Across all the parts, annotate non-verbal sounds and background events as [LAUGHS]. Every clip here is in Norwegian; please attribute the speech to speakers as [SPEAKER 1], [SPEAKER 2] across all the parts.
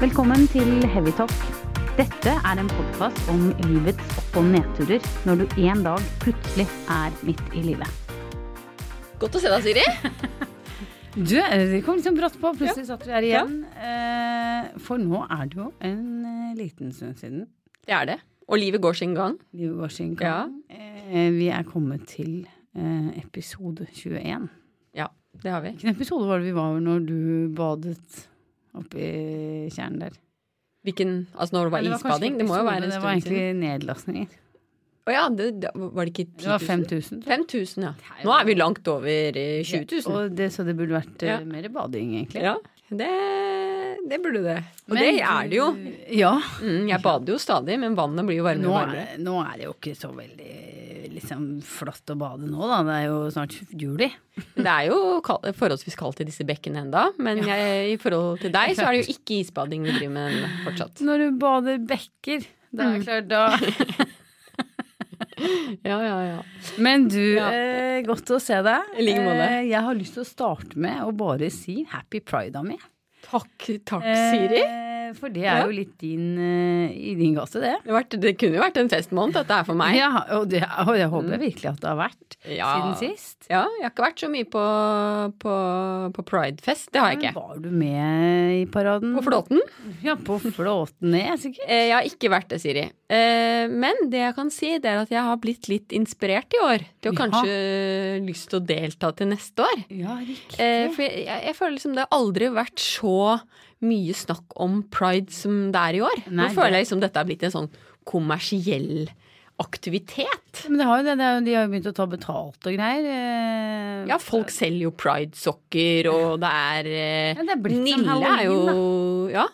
[SPEAKER 1] Velkommen til Heavytalk. Dette er en podkast om livets opp- og nedturer når du en dag plutselig er midt i livet.
[SPEAKER 2] Godt å se deg, Siri.
[SPEAKER 3] Du, eh, det kom liksom brått på. Plutselig satt vi her igjen. Eh, For nå er det jo en eh, liten stund siden.
[SPEAKER 2] Det er det. Og livet går sin gang.
[SPEAKER 3] Liv Washington. Eh, Vi er kommet til eh, episode 21.
[SPEAKER 2] Ja, det har vi.
[SPEAKER 3] Hvilken episode var det vi var når du badet oppi tjernet der?
[SPEAKER 2] Hvilken, altså når det var
[SPEAKER 3] Eller kanskje
[SPEAKER 2] isbading.
[SPEAKER 3] ikke
[SPEAKER 2] Det må jo
[SPEAKER 3] episode,
[SPEAKER 2] være en
[SPEAKER 3] Det var
[SPEAKER 2] stund
[SPEAKER 3] egentlig
[SPEAKER 2] siden.
[SPEAKER 3] nedlastninger.
[SPEAKER 2] Å ja, det, det, var det ikke 10 000?
[SPEAKER 3] Det var 5000.
[SPEAKER 2] 5000, ja. Nå er vi langt over eh, 20 000.
[SPEAKER 3] Og det, så det burde vært eh,
[SPEAKER 2] Ja.
[SPEAKER 3] mer bading, egentlig.
[SPEAKER 2] Ja, det, det burde det. Og
[SPEAKER 3] Men
[SPEAKER 2] det er det jo.
[SPEAKER 3] du- Ja.
[SPEAKER 2] Mm, jeg bader jo stadig, men vannet blir jo varmere
[SPEAKER 3] Nå
[SPEAKER 2] og varmere.
[SPEAKER 3] er, nå er det jo ikke så veldig liksom, flott å bade nå, da. Det er jo snart juli.
[SPEAKER 2] Det er jo kal- forholdsvis kaldt i disse bekkene enda, men jeg, i forhold til deg så
[SPEAKER 3] [LAUGHS]
[SPEAKER 2] er det jo ikke isbading vi driver med fortsatt.
[SPEAKER 3] Når du bader bekker, da
[SPEAKER 2] Mm.
[SPEAKER 3] er det klart da
[SPEAKER 2] [LAUGHS] Ja, ja, ja.
[SPEAKER 3] Men du,
[SPEAKER 2] Ja.
[SPEAKER 3] eh, godt å se deg.
[SPEAKER 2] I like måte.
[SPEAKER 3] Eh, jeg har lyst til å starte med å bare si happy pride av meg.
[SPEAKER 2] Takk, takk, Siri.
[SPEAKER 3] Eh, for det er
[SPEAKER 2] Ja.
[SPEAKER 3] jo litt din, eh, i din gate, det.
[SPEAKER 2] Det, har vært, det kunne jo vært en festmåned, dette her for meg.
[SPEAKER 3] Ja, og, det, og jeg håper virkelig at det har vært
[SPEAKER 2] Mm. Ja.
[SPEAKER 3] siden sist.
[SPEAKER 2] Ja, jeg har ikke vært så mye på, på, på pridefest. Det har jeg
[SPEAKER 3] Men
[SPEAKER 2] ikke.
[SPEAKER 3] var du med i paraden?
[SPEAKER 2] På Flåten?
[SPEAKER 3] Ja, på flåten ned, sikkert.
[SPEAKER 2] Eh, Jeg har ikke vært det, Siri. Eh, Men det jeg kan si, det er at jeg har blitt litt inspirert i år. Til å
[SPEAKER 3] Ja.
[SPEAKER 2] kanskje lyst til å delta til neste år.
[SPEAKER 3] Ja, riktig.
[SPEAKER 2] Eh, For jeg, jeg, jeg føler liksom det har aldri vært så mye snakk om pride som det er i år.
[SPEAKER 3] Nei,
[SPEAKER 2] Nå
[SPEAKER 3] det-
[SPEAKER 2] føler jeg liksom dette har blitt en sånn kommersiell aktivitet.
[SPEAKER 3] Men det har jo det, det er, jo- de har jo begynt å ta betalt og greier. eh,
[SPEAKER 2] Ja, folk selger jo pridesokker, og det er eh,
[SPEAKER 3] Ja, det er blitt som
[SPEAKER 2] Nille er jo Ja.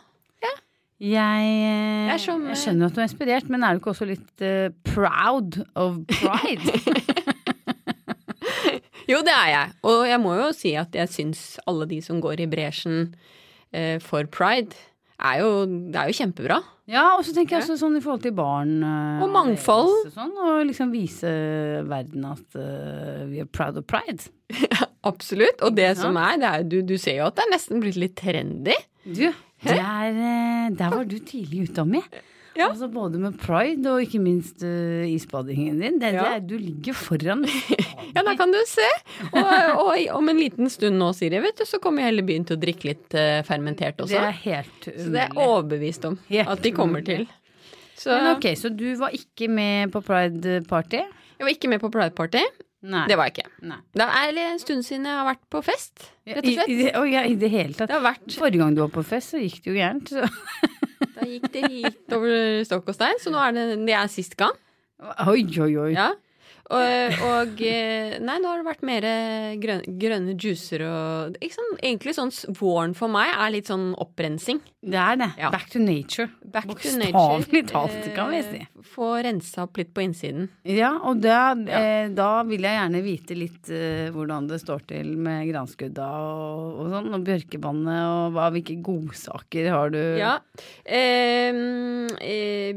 [SPEAKER 3] Jeg, eh,
[SPEAKER 2] Det er som, eh,
[SPEAKER 3] jeg skjønner at du er inspirert, men er du ikke også litt eh, proud of pride?
[SPEAKER 2] [LAUGHS] Jo, det er jeg. Og jeg må jo si at jeg syns alle de som går i bresjen eh, for pride, er jo, det er jo kjempebra.
[SPEAKER 3] ja, og så tenker jeg også sånn i forhold til barn. eh,
[SPEAKER 2] Og mangfold.
[SPEAKER 3] og Sånn, og liksom vise verden at eh, vi er proud of pride.
[SPEAKER 2] Absolutt. Og det som er, det er jo- du, du ser jo at det er nesten blitt litt trendy.
[SPEAKER 3] Du, der, eh, der var du tidlig ute, Ami.
[SPEAKER 2] [LAUGHS] Ja.
[SPEAKER 3] Altså både med pride og ikke minst eh, isbadingen din. Det,
[SPEAKER 2] Ja.
[SPEAKER 3] det er- du ligger foran. altså.
[SPEAKER 2] [LAUGHS] Ja, da kan du
[SPEAKER 3] [LAUGHS]
[SPEAKER 2] se. Og, og i- om en liten stund nå, Siri, vet du, så kommer hele byen til å drikke litt eh, fermentert
[SPEAKER 3] Det er
[SPEAKER 2] også.
[SPEAKER 3] helt umulig.
[SPEAKER 2] Så det er jeg overbevist om
[SPEAKER 3] Helt
[SPEAKER 2] at de kommer til. Så
[SPEAKER 3] Men
[SPEAKER 2] jeg
[SPEAKER 3] ok, så du var ikke med på Pride Party?
[SPEAKER 2] var ikke med på Pride Party.
[SPEAKER 3] Nei.
[SPEAKER 2] Det var jeg ikke.
[SPEAKER 3] Nei.
[SPEAKER 2] Det er en stund siden jeg har vært på fest, rett og slett.
[SPEAKER 3] I, i, det- å, ja, I det hele tatt.
[SPEAKER 2] Det har vært
[SPEAKER 3] Forrige gang du var på fest, så gikk det jo gærent. Så. [LAUGHS]
[SPEAKER 2] Da gikk det litt over stokk og stein, så nå er det, det er sist gang.
[SPEAKER 3] Oi, oi, oi.
[SPEAKER 2] Ja. Og, og eh, nei, nå har det vært mer grønne, grønne juicer og ikke sånn, Egentlig sånn s- våren for meg er litt sånn opprensing.
[SPEAKER 3] Det er det.
[SPEAKER 2] Ja.
[SPEAKER 3] Back to nature.
[SPEAKER 2] Back to nature.
[SPEAKER 3] Bokstavelig talt, kan vi si.
[SPEAKER 2] Eh, Få rensa opp litt på innsiden.
[SPEAKER 3] Ja, og da, eh, da vil jeg gjerne vite litt eh, hvordan det står til med granskudda og, og sånn, og bjørkebannet, og hva, hvilke godsaker har du?
[SPEAKER 2] Ja. Eh, eh,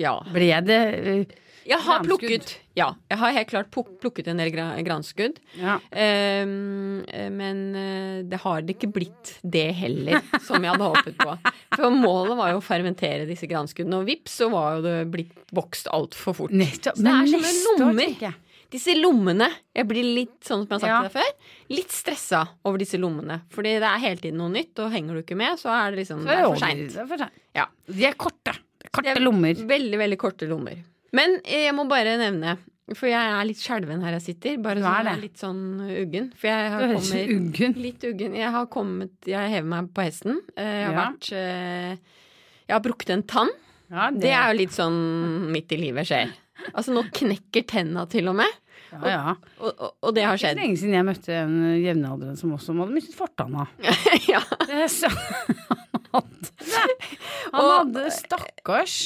[SPEAKER 2] ja.
[SPEAKER 3] Ble det eh,
[SPEAKER 2] Jeg har
[SPEAKER 3] Granskudd.
[SPEAKER 2] plukket Ja, jeg har helt klart pluk- plukket en del gra- granskudd.
[SPEAKER 3] Ja.
[SPEAKER 2] Eh, men eh, det har det ikke blitt det heller, [LAUGHS] som jeg hadde håpet på. For målet var jo å fermentere disse granskuddene, og vips så var jo det blitt vokst altfor fort.
[SPEAKER 3] Nettopp.
[SPEAKER 2] Så det
[SPEAKER 3] Men
[SPEAKER 2] er sånne
[SPEAKER 3] neste år,
[SPEAKER 2] lommer.
[SPEAKER 3] tenker jeg.
[SPEAKER 2] Disse lommene, jeg blir litt, sånn som jeg har sagt
[SPEAKER 3] Ja.
[SPEAKER 2] til deg før, litt stressa over disse lommene. Fordi det er hele tiden noe nytt, og henger du ikke med, så er det
[SPEAKER 3] Så
[SPEAKER 2] liksom det er
[SPEAKER 3] det
[SPEAKER 2] for seint.
[SPEAKER 3] er for seint.
[SPEAKER 2] Ja.
[SPEAKER 3] De er korte. Korte
[SPEAKER 2] Det er
[SPEAKER 3] lommer.
[SPEAKER 2] Veldig, veldig korte lommer. Men eh, jeg må bare nevne, for jeg er litt skjelven her jeg sitter. Bare
[SPEAKER 3] Du
[SPEAKER 2] sånn,
[SPEAKER 3] er
[SPEAKER 2] jeg er
[SPEAKER 3] det.
[SPEAKER 2] litt sånn uggen. For jeg
[SPEAKER 3] Du
[SPEAKER 2] har
[SPEAKER 3] høres
[SPEAKER 2] kommer-
[SPEAKER 3] uggen
[SPEAKER 2] Litt uggen. Jeg har kommet Jeg hever meg på hesten. Eh, Jeg har
[SPEAKER 3] Ja.
[SPEAKER 2] vært eh, Jeg har brukt en tann.
[SPEAKER 3] Ja,
[SPEAKER 2] Det er jo litt sånn midt i livet skjer. Altså, nå knekker tenna til og med.
[SPEAKER 3] ja, ja.
[SPEAKER 2] Og, og, og det har
[SPEAKER 3] Det er
[SPEAKER 2] skjedd.
[SPEAKER 3] lenge siden jeg møtte en jevnaldrende som også hadde mistet
[SPEAKER 2] [LAUGHS]
[SPEAKER 3] fortanna.
[SPEAKER 2] ja.
[SPEAKER 3] Det er så- [LAUGHS] Han hadde, han
[SPEAKER 2] Og-
[SPEAKER 3] hadde stakkars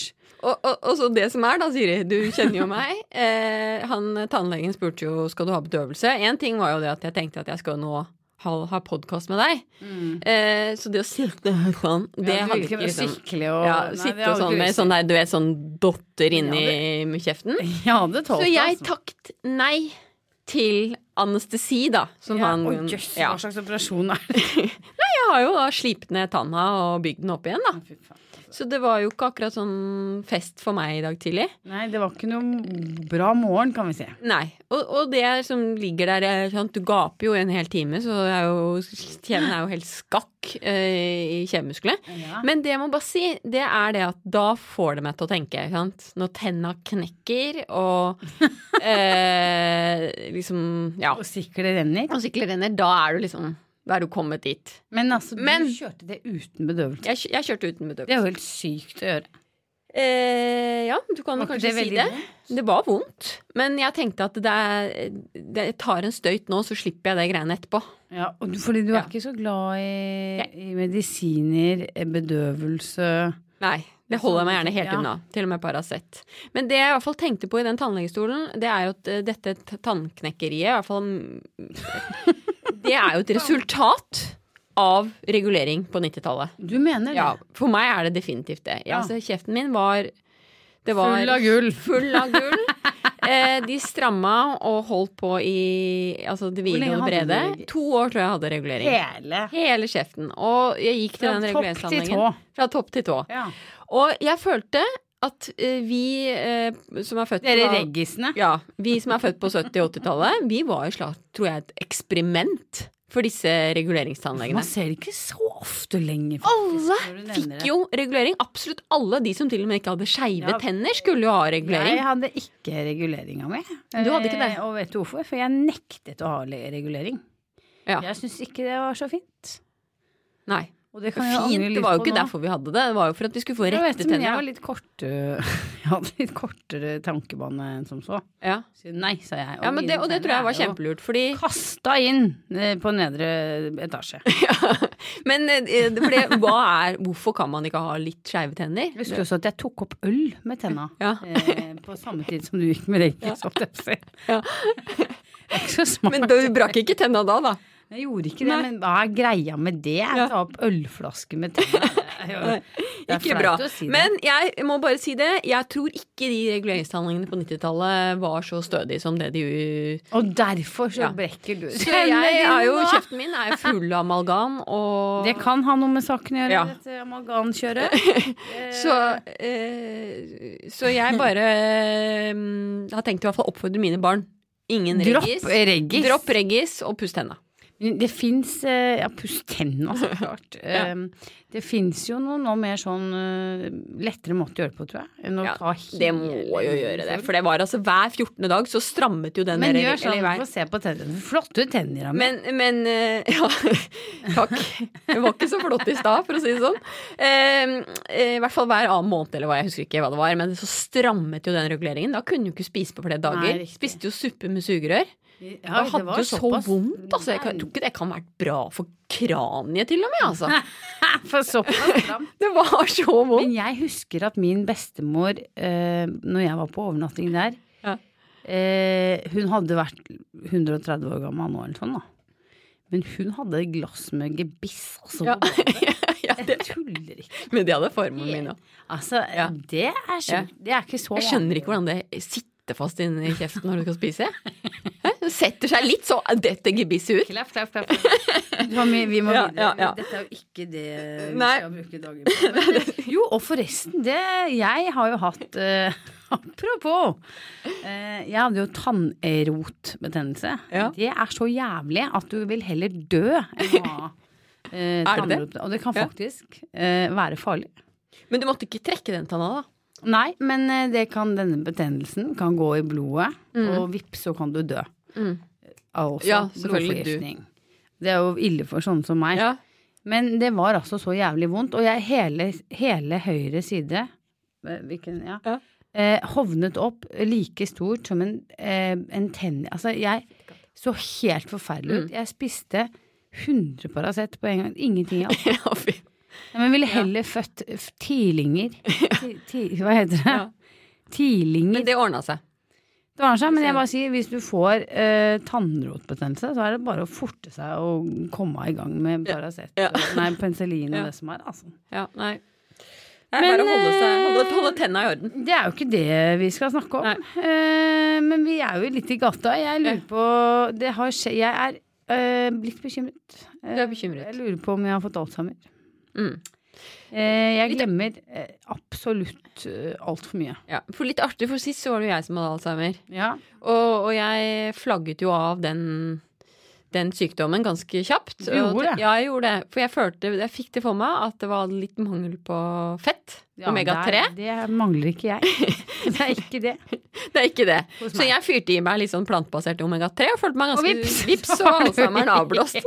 [SPEAKER 2] og, og, og så det som er, da, Siri. Du kjenner jo meg. [LAUGHS] Eh, han tannlegen spurte jo skal du ha bedøvelse. Én ting var jo det at jeg tenkte at jeg skal nå ha, ha podkast med deg. Eh, så det å sitte her sånn, det
[SPEAKER 3] Ja, du
[SPEAKER 2] hadde
[SPEAKER 3] ville
[SPEAKER 2] ikke
[SPEAKER 3] være
[SPEAKER 2] liksom
[SPEAKER 3] skikkelig og-
[SPEAKER 2] ja,
[SPEAKER 3] Nei, det
[SPEAKER 2] Sitte
[SPEAKER 3] hadde
[SPEAKER 2] sånn
[SPEAKER 3] ikke
[SPEAKER 2] med
[SPEAKER 3] lyst til.
[SPEAKER 2] sånn der, du vet, sånn dotter inni kjeften.
[SPEAKER 3] Jeg hadde tålt
[SPEAKER 2] Så
[SPEAKER 3] det,
[SPEAKER 2] [LAUGHS] jeg
[SPEAKER 3] altså.
[SPEAKER 2] takket nei til anestesi, da. Som
[SPEAKER 3] ja,
[SPEAKER 2] han
[SPEAKER 3] Å jøss,
[SPEAKER 2] ja.
[SPEAKER 3] hva slags operasjon er det?
[SPEAKER 2] Nei, jeg har jo da slipt ned tanna og bygd den opp igjen, da.
[SPEAKER 3] Fy faen.
[SPEAKER 2] Så det var jo ikke akkurat sånn fest for meg i dag tidlig.
[SPEAKER 3] Nei, det var ikke noe bra morgen, kan vi si.
[SPEAKER 2] Nei. Og, og det som ligger der er sånn, Du gaper jo en hel time, så er jo, kjeven er jo helt skakk eh, i kjevemuskelet.
[SPEAKER 3] Ja.
[SPEAKER 2] Men det jeg må bare si, det er det at da får det meg til å tenke. ikke Sant? Når tenna knekker [LAUGHS] og eh, liksom Ja.
[SPEAKER 3] Og sikle renner.
[SPEAKER 2] Og sykler renner, da er du liksom Da er du kommet dit.
[SPEAKER 3] Men altså, du
[SPEAKER 2] Men-
[SPEAKER 3] kjørte det uten bedøvelse.
[SPEAKER 2] Jeg, kj- jeg kjørte uten bedøvelse.
[SPEAKER 3] Det er jo helt sykt å gjøre.
[SPEAKER 2] Eh, ja, du kan
[SPEAKER 3] Var ikke
[SPEAKER 2] kanskje
[SPEAKER 3] det
[SPEAKER 2] si
[SPEAKER 3] veldig
[SPEAKER 2] det. Det var vondt. Men jeg tenkte at det er, det, jeg tar en støyt nå, så slipper jeg de greiene etterpå.
[SPEAKER 3] Ja, og du, fordi du er
[SPEAKER 2] Ja.
[SPEAKER 3] ikke så glad i, i medisiner, eh, bedøvelse
[SPEAKER 2] Nei. Det holder jeg meg gjerne helt
[SPEAKER 3] Ja.
[SPEAKER 2] unna. Til og med Paracet. Men det jeg i hvert fall tenkte på i den tannlegestolen, det er jo at eh, dette t- tannknekkeriet i hvert fall mm, [LAUGHS] Det er jo et resultat av regulering på 90-tallet.
[SPEAKER 3] Du mener det?
[SPEAKER 2] Ja, for meg er det definitivt det. Ja,
[SPEAKER 3] Ja.
[SPEAKER 2] altså, kjeften min var, det var
[SPEAKER 3] Full av gull.
[SPEAKER 2] Full
[SPEAKER 3] [LAUGHS]
[SPEAKER 2] av gull. Eh, de stramma og holdt på i altså, det vide
[SPEAKER 3] lenge
[SPEAKER 2] og det
[SPEAKER 3] hadde
[SPEAKER 2] brede.
[SPEAKER 3] du-
[SPEAKER 2] To år tror jeg hadde regulering.
[SPEAKER 3] Hele.
[SPEAKER 2] Hele kjeften. Og jeg gikk til
[SPEAKER 3] Fra topp
[SPEAKER 2] den
[SPEAKER 3] til tå.
[SPEAKER 2] reguleringsanleggen. Fra topp til tå.
[SPEAKER 3] Ja.
[SPEAKER 2] Og jeg følte at eh, vi eh, som er født
[SPEAKER 3] Dere
[SPEAKER 2] på-
[SPEAKER 3] reggisene.
[SPEAKER 2] ja, vi som er født på 70- og 80-tallet, vi var jo slags, tror jeg, et eksperiment for disse reguleringstannlegene.
[SPEAKER 3] Man ser ikke så ofte lenger.
[SPEAKER 2] Alle
[SPEAKER 3] når du nevner
[SPEAKER 2] fikk
[SPEAKER 3] det.
[SPEAKER 2] jo regulering. Absolutt alle de som til og med ikke hadde skeive
[SPEAKER 3] Ja.
[SPEAKER 2] tenner, skulle jo ha regulering.
[SPEAKER 3] Jeg hadde ikke reguleringa mi.
[SPEAKER 2] Du hadde ikke det?
[SPEAKER 3] Eh, Og vet du hvorfor? For jeg nektet å ha le- regulering.
[SPEAKER 2] Ja.
[SPEAKER 3] Jeg syns ikke det var så fint.
[SPEAKER 2] Nei.
[SPEAKER 3] Og det kan jeg angre
[SPEAKER 2] Fint,
[SPEAKER 3] litt
[SPEAKER 2] det var jo
[SPEAKER 3] på
[SPEAKER 2] ikke
[SPEAKER 3] nå.
[SPEAKER 2] derfor vi hadde det. Det var jo for at vi skulle få
[SPEAKER 3] Jeg vet,
[SPEAKER 2] rette
[SPEAKER 3] det, men jeg var
[SPEAKER 2] tenner. da.
[SPEAKER 3] litt korte [LAUGHS] Jeg hadde litt kortere tankebane enn som så.
[SPEAKER 2] Ja.
[SPEAKER 3] Så nei, sa jeg.
[SPEAKER 2] Ja, men det, og det tror jeg var kjempelurt, fordi
[SPEAKER 3] Kasta inn eh, på nedre
[SPEAKER 2] [LAUGHS]
[SPEAKER 3] etasje.
[SPEAKER 2] Men eh, det- for det, hva er Hvorfor kan man ikke ha litt skeive tenner?
[SPEAKER 3] Jeg husker også at jeg tok opp øl med tenna
[SPEAKER 2] Ja.
[SPEAKER 3] eh, på samme tid som du
[SPEAKER 2] [LAUGHS]
[SPEAKER 3] gikk med rekkes. holdt jeg på å si.
[SPEAKER 2] Ja.
[SPEAKER 3] [LAUGHS] Det er ikke så smart.
[SPEAKER 2] Men du brakk ikke tenna da, da.
[SPEAKER 3] Jeg gjorde ikke det,
[SPEAKER 2] Nei.
[SPEAKER 3] men hva er greia med det? Ta opp ølflaske
[SPEAKER 2] [LAUGHS]
[SPEAKER 3] med tenna. Det er jo- det er
[SPEAKER 2] Ikke
[SPEAKER 3] flaut
[SPEAKER 2] bra.
[SPEAKER 3] å si det.
[SPEAKER 2] Men jeg må bare si det. Jeg tror ikke de reguleringstanningene på 90-tallet var så stødige som det de
[SPEAKER 3] Og derfor så
[SPEAKER 2] Ja.
[SPEAKER 3] brekker du
[SPEAKER 2] [LAUGHS] Så jeg er jo, kjeften min er jo full av amalgam, og
[SPEAKER 3] Det kan ha noe med saken å gjøre,
[SPEAKER 2] Ja.
[SPEAKER 3] dette amalgamkjøret.
[SPEAKER 2] [LAUGHS] så, eh, så jeg bare eh, har tenkt i hvert fall å oppfordre mine barn. Ingen
[SPEAKER 3] Dropp
[SPEAKER 2] reggis.
[SPEAKER 3] reggis.
[SPEAKER 2] Dropp reggis og puss tenna.
[SPEAKER 3] Men Det fins Ja, puss tenna,
[SPEAKER 2] [LAUGHS]
[SPEAKER 3] så klart.
[SPEAKER 2] Ja.
[SPEAKER 3] Eh, Det fins jo noe, noe mer sånn eh, lettere måte å gjøre det på, tror jeg. Enn å
[SPEAKER 2] Ja,
[SPEAKER 3] ta hele
[SPEAKER 2] Det må jo gjøre det. For det var altså hver 14. dag så strammet jo den
[SPEAKER 3] Men
[SPEAKER 2] der-
[SPEAKER 3] gjør sånn,
[SPEAKER 2] eller hver-
[SPEAKER 3] få se på tennene. Flotte tenner. Amel.
[SPEAKER 2] Men, men eh, [LAUGHS] Ja, takk. Det var ikke så flott i stad, for å si det sånn. Eh, eh, I hvert fall hver annen måned, eller hva. Jeg husker ikke hva det var. Men så strammet jo den reguleringen. Da kunne du ikke spise på flere dager.
[SPEAKER 3] Nei, riktig.
[SPEAKER 2] Spiste jo suppe med sugerør.
[SPEAKER 3] Ja,
[SPEAKER 2] jeg
[SPEAKER 3] det
[SPEAKER 2] hadde
[SPEAKER 3] var
[SPEAKER 2] jo så
[SPEAKER 3] såpass.
[SPEAKER 2] vondt, altså. Jeg kan, tror ikke det kan ha vært bra for kraniet, til og med, altså.
[SPEAKER 3] For
[SPEAKER 2] [LAUGHS]
[SPEAKER 3] såpass stramt.
[SPEAKER 2] Det var så vondt.
[SPEAKER 3] [LAUGHS] Men jeg husker at min bestemor, eh, når jeg var på overnatting der
[SPEAKER 2] Ja.
[SPEAKER 3] eh, Hun hadde vært 130 år gammel nå, eller sånn, da. Men hun hadde et glass med gebiss, altså.
[SPEAKER 2] Ja.
[SPEAKER 3] på badet.
[SPEAKER 2] ja, [LAUGHS] det,
[SPEAKER 3] Jeg tuller ikke.
[SPEAKER 2] men det hadde formen min òg.
[SPEAKER 3] Altså, det er sjukt. Det er ikke så
[SPEAKER 2] Jeg skjønner ikke hvordan det sitter fast inni kjeften når du skal spise. Hæ? Det setter seg litt så detter gebisset ut.
[SPEAKER 3] Klapp, klapp, klapp. [LAUGHS] klapp. Du har mye- Vi må
[SPEAKER 2] Ja,
[SPEAKER 3] videre.
[SPEAKER 2] ja, ja.
[SPEAKER 3] Dette er jo ikke det vi
[SPEAKER 2] Nei.
[SPEAKER 3] skal bruke dagen på.
[SPEAKER 2] [LAUGHS]
[SPEAKER 3] Men, jo, og forresten, det Jeg har jo hatt eh, [LAUGHS] Apropos. eh, jeg hadde jo tannrotbetennelse.
[SPEAKER 2] Ja.
[SPEAKER 3] Det er så jævlig at du vil heller dø enn å ha eh,
[SPEAKER 2] [LAUGHS] Er det det?
[SPEAKER 3] tannrot. Og det kan
[SPEAKER 2] Ja.
[SPEAKER 3] faktisk eh, være farlig.
[SPEAKER 2] Men du måtte ikke trekke den tanna, da.
[SPEAKER 3] Nei, men eh, det kan, denne betennelsen kan gå i blodet, og vips, så kan du dø.
[SPEAKER 2] Mm.
[SPEAKER 3] Av også
[SPEAKER 2] Ja, selvfølgelig du.
[SPEAKER 3] blodforgiftning. Det er jo ille for sånne som meg.
[SPEAKER 2] Ja.
[SPEAKER 3] Men det var altså så jævlig vondt, og jeg hele, hele høyre side eh, Hvilken, ja.
[SPEAKER 2] Ja.
[SPEAKER 3] Eh, hovnet opp like stort som en, eh, en tennis... Altså, jeg så helt forferdelig
[SPEAKER 2] Mm.
[SPEAKER 3] ut. Jeg spiste 100 Paracet på en gang.
[SPEAKER 2] [LAUGHS]
[SPEAKER 3] Ingenting igjen.
[SPEAKER 2] [LAUGHS] Ja, fy.
[SPEAKER 3] Nei, Men ville heller født f- tidlinger.
[SPEAKER 2] [LAUGHS]
[SPEAKER 3] Ti, ti, hva heter det?
[SPEAKER 2] Ja.
[SPEAKER 3] Tidlinger.
[SPEAKER 2] Men det ordna seg.
[SPEAKER 3] Det ordner seg, men jeg bare sier, hvis du får eh, tannrotbetennelse, så er det bare å forte seg og komme i gang med Paracet,
[SPEAKER 2] Ja.
[SPEAKER 3] og- nei, penicillin og
[SPEAKER 2] [LAUGHS] Ja.
[SPEAKER 3] det som er, altså.
[SPEAKER 2] Ja, nei. Det
[SPEAKER 3] Men,
[SPEAKER 2] er bare å holde, seg,
[SPEAKER 3] eh,
[SPEAKER 2] holde, holde tenna i orden.
[SPEAKER 3] Det er jo ikke det vi skal snakke om. Eh, men vi er jo litt i gata. Jeg lurer på det har skje, Jeg er Eh, blitt bekymret. Eh,
[SPEAKER 2] Du er bekymret.
[SPEAKER 3] Jeg lurer på om jeg har fått alzheimer.
[SPEAKER 2] Mm.
[SPEAKER 3] Eh, jeg
[SPEAKER 2] Litt-
[SPEAKER 3] glemmer eh, absolutt eh, altfor mye.
[SPEAKER 2] Ja. For litt artig, for sist så var det jo jeg som hadde alzheimer.
[SPEAKER 3] Ja.
[SPEAKER 2] Og, og jeg flagget jo av den, den sykdommen ganske kjapt.
[SPEAKER 3] Du gjorde
[SPEAKER 2] Og-
[SPEAKER 3] det?
[SPEAKER 2] Ja, jeg gjorde det. For jeg følte, jeg fikk det for meg at det var litt mangel på fett.
[SPEAKER 3] Ja,
[SPEAKER 2] Omega-3.
[SPEAKER 3] der- Det mangler ikke jeg. [LAUGHS] Det er ikke det.
[SPEAKER 2] [LAUGHS] Det er ikke det.
[SPEAKER 3] Hos
[SPEAKER 2] Så
[SPEAKER 3] meg.
[SPEAKER 2] jeg fyrte i meg litt sånn plantbasert omega-3 og følte meg
[SPEAKER 3] Og
[SPEAKER 2] ganske
[SPEAKER 3] vips,
[SPEAKER 2] vips,
[SPEAKER 3] [LAUGHS] så
[SPEAKER 2] og
[SPEAKER 3] har du-
[SPEAKER 2] alzheimeren avblåst.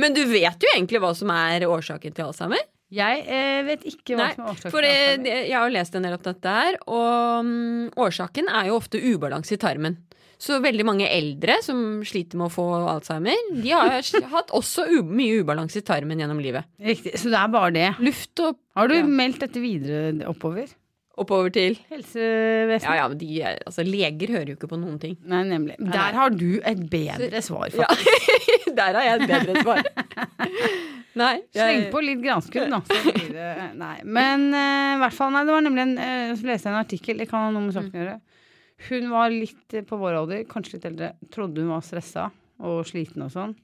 [SPEAKER 2] Men du vet jo egentlig hva som er årsaken til alzheimer.
[SPEAKER 3] Jeg eh, vet ikke hva
[SPEAKER 2] Nei,
[SPEAKER 3] som er årsaken.
[SPEAKER 2] For
[SPEAKER 3] til
[SPEAKER 2] eh,
[SPEAKER 3] alzheimer.
[SPEAKER 2] det- jeg har jo lest en del om dette her, og mm, årsaken er jo ofte ubalanse i tarmen. Så veldig mange eldre som sliter med å få alzheimer, de har hatt også u mye ubalanse i tarmen gjennom livet.
[SPEAKER 3] Riktig. Så det er bare det.
[SPEAKER 2] Luft og
[SPEAKER 3] Har du
[SPEAKER 2] Ja.
[SPEAKER 3] meldt dette videre oppover?
[SPEAKER 2] oppover til Ja
[SPEAKER 3] Helsevesenet?
[SPEAKER 2] ja, men de, er- altså, leger hører jo ikke på noen ting.
[SPEAKER 3] Nei, nemlig. Der har du et bedre svar,
[SPEAKER 2] Ja. [LAUGHS]
[SPEAKER 3] faktisk.
[SPEAKER 2] Der har jeg et bedre
[SPEAKER 3] [LAUGHS]
[SPEAKER 2] svar. Nei.
[SPEAKER 3] Sleng på litt granskudd, da. Så blir det,
[SPEAKER 2] [LAUGHS]
[SPEAKER 3] nei. Men eh, i hvert fall, nei, det var nemlig en eh, Så leste jeg en artikkel, det kan ha noe med saken å gjøre. Hun var litt eh, på vår alder, kanskje litt eldre. Trodde hun var stressa og sliten og sånn.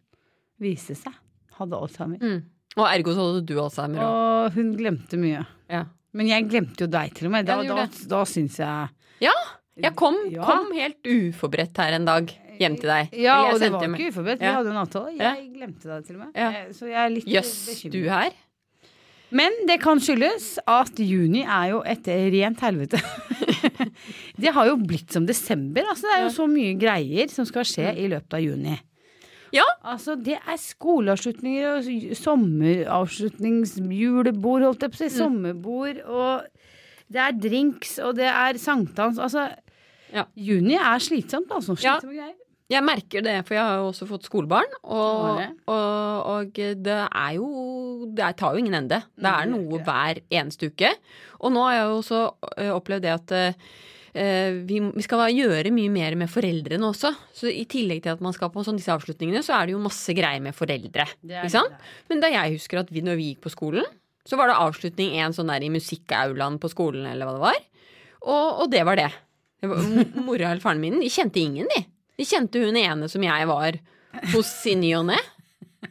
[SPEAKER 3] Viste seg. Hadde alzheimer.
[SPEAKER 2] Mm. Og ergo så hadde du alzheimer òg.
[SPEAKER 3] Og hun glemte mye.
[SPEAKER 2] Ja.
[SPEAKER 3] Men jeg glemte jo deg, til og med. Da,
[SPEAKER 2] Ja, du
[SPEAKER 3] da,
[SPEAKER 2] gjorde
[SPEAKER 3] da, syns jeg
[SPEAKER 2] Jeg kom,
[SPEAKER 3] Ja.
[SPEAKER 2] kom helt uforberedt her en dag hjem til deg.
[SPEAKER 3] Ja,
[SPEAKER 2] Eller jeg
[SPEAKER 3] og det
[SPEAKER 2] sendte
[SPEAKER 3] var
[SPEAKER 2] en
[SPEAKER 3] ikke uforberedt. Vi
[SPEAKER 2] Ja.
[SPEAKER 3] hadde jo en avtale.
[SPEAKER 2] Ja.
[SPEAKER 3] Jeg glemte deg til og med.
[SPEAKER 2] Ja.
[SPEAKER 3] Eh, Så jeg er litt eh,
[SPEAKER 2] Jøss,
[SPEAKER 3] bekymret.
[SPEAKER 2] du her?
[SPEAKER 3] Men det kan skyldes at juni er jo et rent helvete. [LAUGHS] det har jo blitt som desember. Altså, det er jo så mye greier som skal skje i løpet av juni.
[SPEAKER 2] Ja.
[SPEAKER 3] Altså, det er skoleavslutninger og s- sommeravslutningsjulebord, holdt jeg på å si.
[SPEAKER 2] Mm.
[SPEAKER 3] Sommerbord og det er drinks og det er sankthans. Altså,
[SPEAKER 2] Ja.
[SPEAKER 3] juni er slitsomt, altså.
[SPEAKER 2] Ja.
[SPEAKER 3] Slitsomme greier.
[SPEAKER 2] Jeg merker det, for jeg har jo også fått skolebarn.
[SPEAKER 3] Har
[SPEAKER 2] Og,
[SPEAKER 3] det?
[SPEAKER 2] og, og det er jo Det er- tar jo ingen ende. Det
[SPEAKER 3] Nei,
[SPEAKER 2] er
[SPEAKER 3] det gjør
[SPEAKER 2] noe
[SPEAKER 3] ikke det.
[SPEAKER 2] hver eneste uke. Og nå har jeg jo også ø, opplevd det at ø, vi, vi skal gjøre mye mer med foreldrene også. Så i tillegg til at man skal på sånn disse avslutningene, så er det jo masse greier med foreldre.
[SPEAKER 3] Det er
[SPEAKER 2] Ikke sant?
[SPEAKER 3] det det
[SPEAKER 2] Men da jeg husker at vi, når vi gikk på skolen, så var det avslutning én sånn der i musikkaulaen på skolen, eller hva det var. Og, og det var det. det var, m- [LAUGHS] mora eller faren min, de kjente ingen, de. De kjente hun ene som jeg var hos i ny og ne.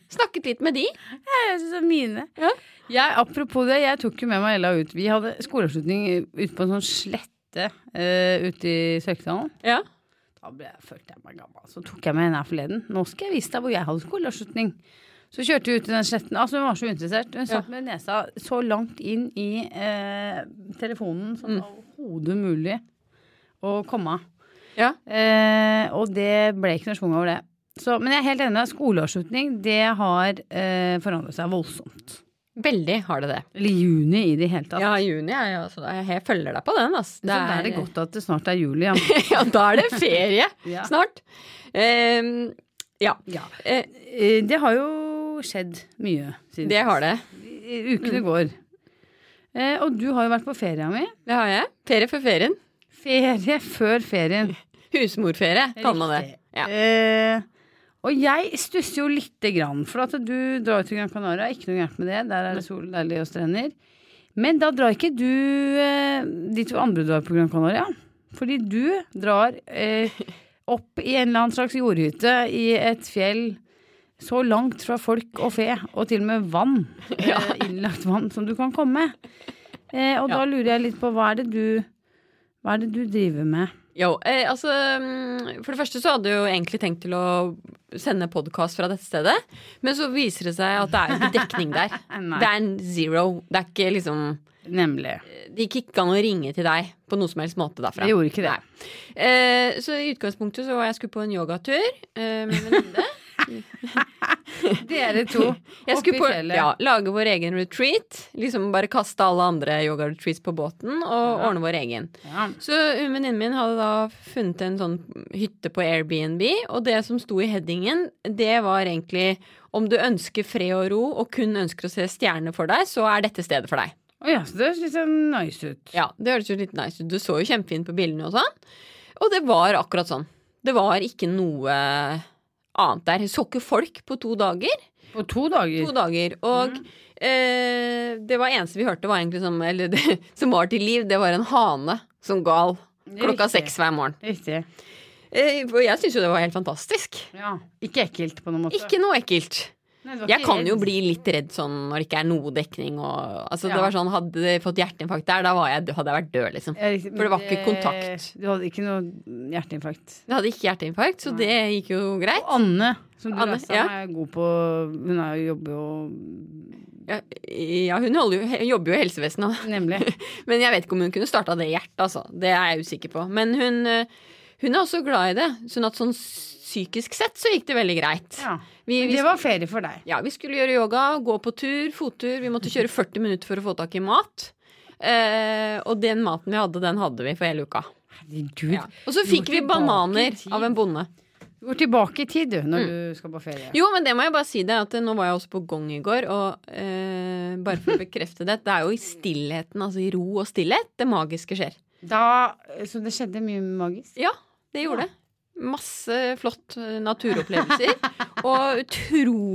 [SPEAKER 2] Snakket litt med
[SPEAKER 3] [LAUGHS]
[SPEAKER 2] de.
[SPEAKER 3] Jeg synes det er mine.
[SPEAKER 2] Ja.
[SPEAKER 3] Jeg, apropos det, jeg tok jo med meg Ella ut. Vi hadde skoleavslutning ute på en sånn slette eh, ute i Sørkedalen.
[SPEAKER 2] Ja.
[SPEAKER 3] Da ble jeg, følte jeg meg gammel. Så tok jeg med henne her forleden. Nå skal jeg vise deg hvor jeg hadde skoleavslutning. Så kjørte vi ut i den sletten. Altså, hun var så uinteressert. Hun satt med nesa så langt inn i eh, telefonen som overhodet mulig å komme av.
[SPEAKER 2] Ja.
[SPEAKER 3] Eh, og det ble ikke noe schwung over det. Så, men jeg er helt enig. Skoleavslutning, det har eh, forandret seg voldsomt.
[SPEAKER 2] Veldig har det det.
[SPEAKER 3] Eller juni i det hele tatt.
[SPEAKER 2] Ja, i juni er jeg også Jeg jeg følger deg på den, ass.
[SPEAKER 3] så da er det godt at det snart er jul igjen.
[SPEAKER 2] [LAUGHS] Ja, da er det ferie
[SPEAKER 3] [LAUGHS] Ja.
[SPEAKER 2] snart. Ehm, ja.
[SPEAKER 3] Ja.
[SPEAKER 2] Eh,
[SPEAKER 3] [LAUGHS] Eh, Det har jo skjedd mye siden
[SPEAKER 2] det har det.
[SPEAKER 3] I- ukene går. Eh, Og du har jo vært på feria mi.
[SPEAKER 2] Det har jeg. Ferie for ferien.
[SPEAKER 3] Ferie før ferien.
[SPEAKER 2] Husmorferie, kaller man det.
[SPEAKER 3] Riktig.
[SPEAKER 2] Ja.
[SPEAKER 3] Eh, og jeg stusser jo lite grann, for at du drar jo til Gran Canaria. Ikke noe gærent med det, der er det sol, deilig og strender. Men da drar ikke du eh, de to andre du drar på Gran Canaria. Fordi du drar eh, opp i en eller annen slags jordhytte i et fjell så langt fra folk og fe, og til og med vann, eh, innlagt vann, som du kan komme. Eh, og da lurer jeg litt på hva er det du, hva er det du driver med?
[SPEAKER 2] Jo, eh, altså mm, For det første så hadde jeg jo egentlig tenkt til å sende podkast fra dette stedet. Men så viser det seg at det er jo ikke dekning der.
[SPEAKER 3] [LAUGHS] Nei.
[SPEAKER 2] det er en zero. Det er ikke liksom
[SPEAKER 3] Nemlig.
[SPEAKER 2] Det gikk ikke an å ringe til deg på noe som helst måte derfra.
[SPEAKER 3] Jeg gjorde ikke det.
[SPEAKER 2] Eh, så i utgangspunktet så var jeg skulle på en yogatur eh, med en
[SPEAKER 3] [LAUGHS]
[SPEAKER 2] venninne.
[SPEAKER 3] Dere
[SPEAKER 2] [LAUGHS]
[SPEAKER 3] to
[SPEAKER 2] Jeg
[SPEAKER 3] oppi
[SPEAKER 2] skulle på,
[SPEAKER 3] fjellet.
[SPEAKER 2] ja, lage vår egen retreat. Liksom bare kaste alle andre yoga-retreats på båten og ordne vår egen.
[SPEAKER 3] Ja.
[SPEAKER 2] Så venninnen min hadde da funnet en sånn hytte på Airbnb, og det som sto i headingen, det var egentlig om du ønsker fred og ro og kun ønsker å se stjerner for deg, så er dette stedet for deg.
[SPEAKER 3] Å ja, så det høres litt sånn nice ut.
[SPEAKER 2] Ja, det høres jo litt nice ut. Du så jo kjempefint på bildene og sånn. Og det var akkurat sånn. Det var ikke noe annet der. Jeg så ikke folk på to dager.
[SPEAKER 3] På to dager.
[SPEAKER 2] To dager. Og eh, det var eneste vi hørte var egentlig som, eller [LAUGHS] det, som var til liv, det var en hane som gal klokka
[SPEAKER 3] Riktig.
[SPEAKER 2] seks hver morgen.
[SPEAKER 3] Riktig.
[SPEAKER 2] Eh, og jeg syns jo det var helt fantastisk.
[SPEAKER 3] Ja. Ikke ekkelt, på noen måte.
[SPEAKER 2] Ikke noe ekkelt.
[SPEAKER 3] Nei, det var
[SPEAKER 2] Jeg
[SPEAKER 3] ikke
[SPEAKER 2] kan jo
[SPEAKER 3] redd.
[SPEAKER 2] bli litt redd sånn når det ikke er noe dekning og Altså, det
[SPEAKER 3] Ja.
[SPEAKER 2] var sånn, hadde jeg fått hjerteinfarkt der, da var jeg, hadde jeg vært død, liksom.
[SPEAKER 3] Ja, riktig,
[SPEAKER 2] for det var
[SPEAKER 3] men
[SPEAKER 2] ikke kontakt.
[SPEAKER 3] Du hadde ikke noe hjerteinfarkt.
[SPEAKER 2] Jeg hadde ikke hjerteinfarkt, så
[SPEAKER 3] Nei.
[SPEAKER 2] det gikk jo greit.
[SPEAKER 3] Og Anne, som du
[SPEAKER 2] Anne,
[SPEAKER 3] leste,
[SPEAKER 2] ja.
[SPEAKER 3] er god på Hun er jo jobber jo
[SPEAKER 2] Ja, ja hun holder jo, jobber jo i helsevesenet, [LAUGHS] og-
[SPEAKER 3] Nemlig.
[SPEAKER 2] men jeg vet ikke om hun kunne starta det i hjertet, altså. Det er jeg usikker på. Men hun, eh, hun er også glad i det. Sånn at sånn psykisk sett så gikk det veldig greit.
[SPEAKER 3] Ja.
[SPEAKER 2] Vi, vi,
[SPEAKER 3] Det var ferie for deg.
[SPEAKER 2] ja, vi skulle gjøre yoga, gå på tur, fottur. Vi måtte kjøre 40 minutter for å få tak i mat. Eh, og den maten vi hadde, den hadde vi for hele uka.
[SPEAKER 3] Herregud.
[SPEAKER 2] Ja. Og så
[SPEAKER 3] Du
[SPEAKER 2] fikk
[SPEAKER 3] går
[SPEAKER 2] vi
[SPEAKER 3] tilbake i
[SPEAKER 2] bananer
[SPEAKER 3] tid.
[SPEAKER 2] av en bonde.
[SPEAKER 3] Du går tilbake i tid, du, når du skal på ferie.
[SPEAKER 2] Mm. Jo, men det må jeg bare si det, at nå var jeg også på gong i går, og eh, bare for å bekrefte det, det er jo i stillheten, altså i ro og stillhet, det magiske skjer.
[SPEAKER 3] Da, så det skjedde mye magisk.
[SPEAKER 2] Ja, det gjorde det. Masse flott eh, naturopplevelser, og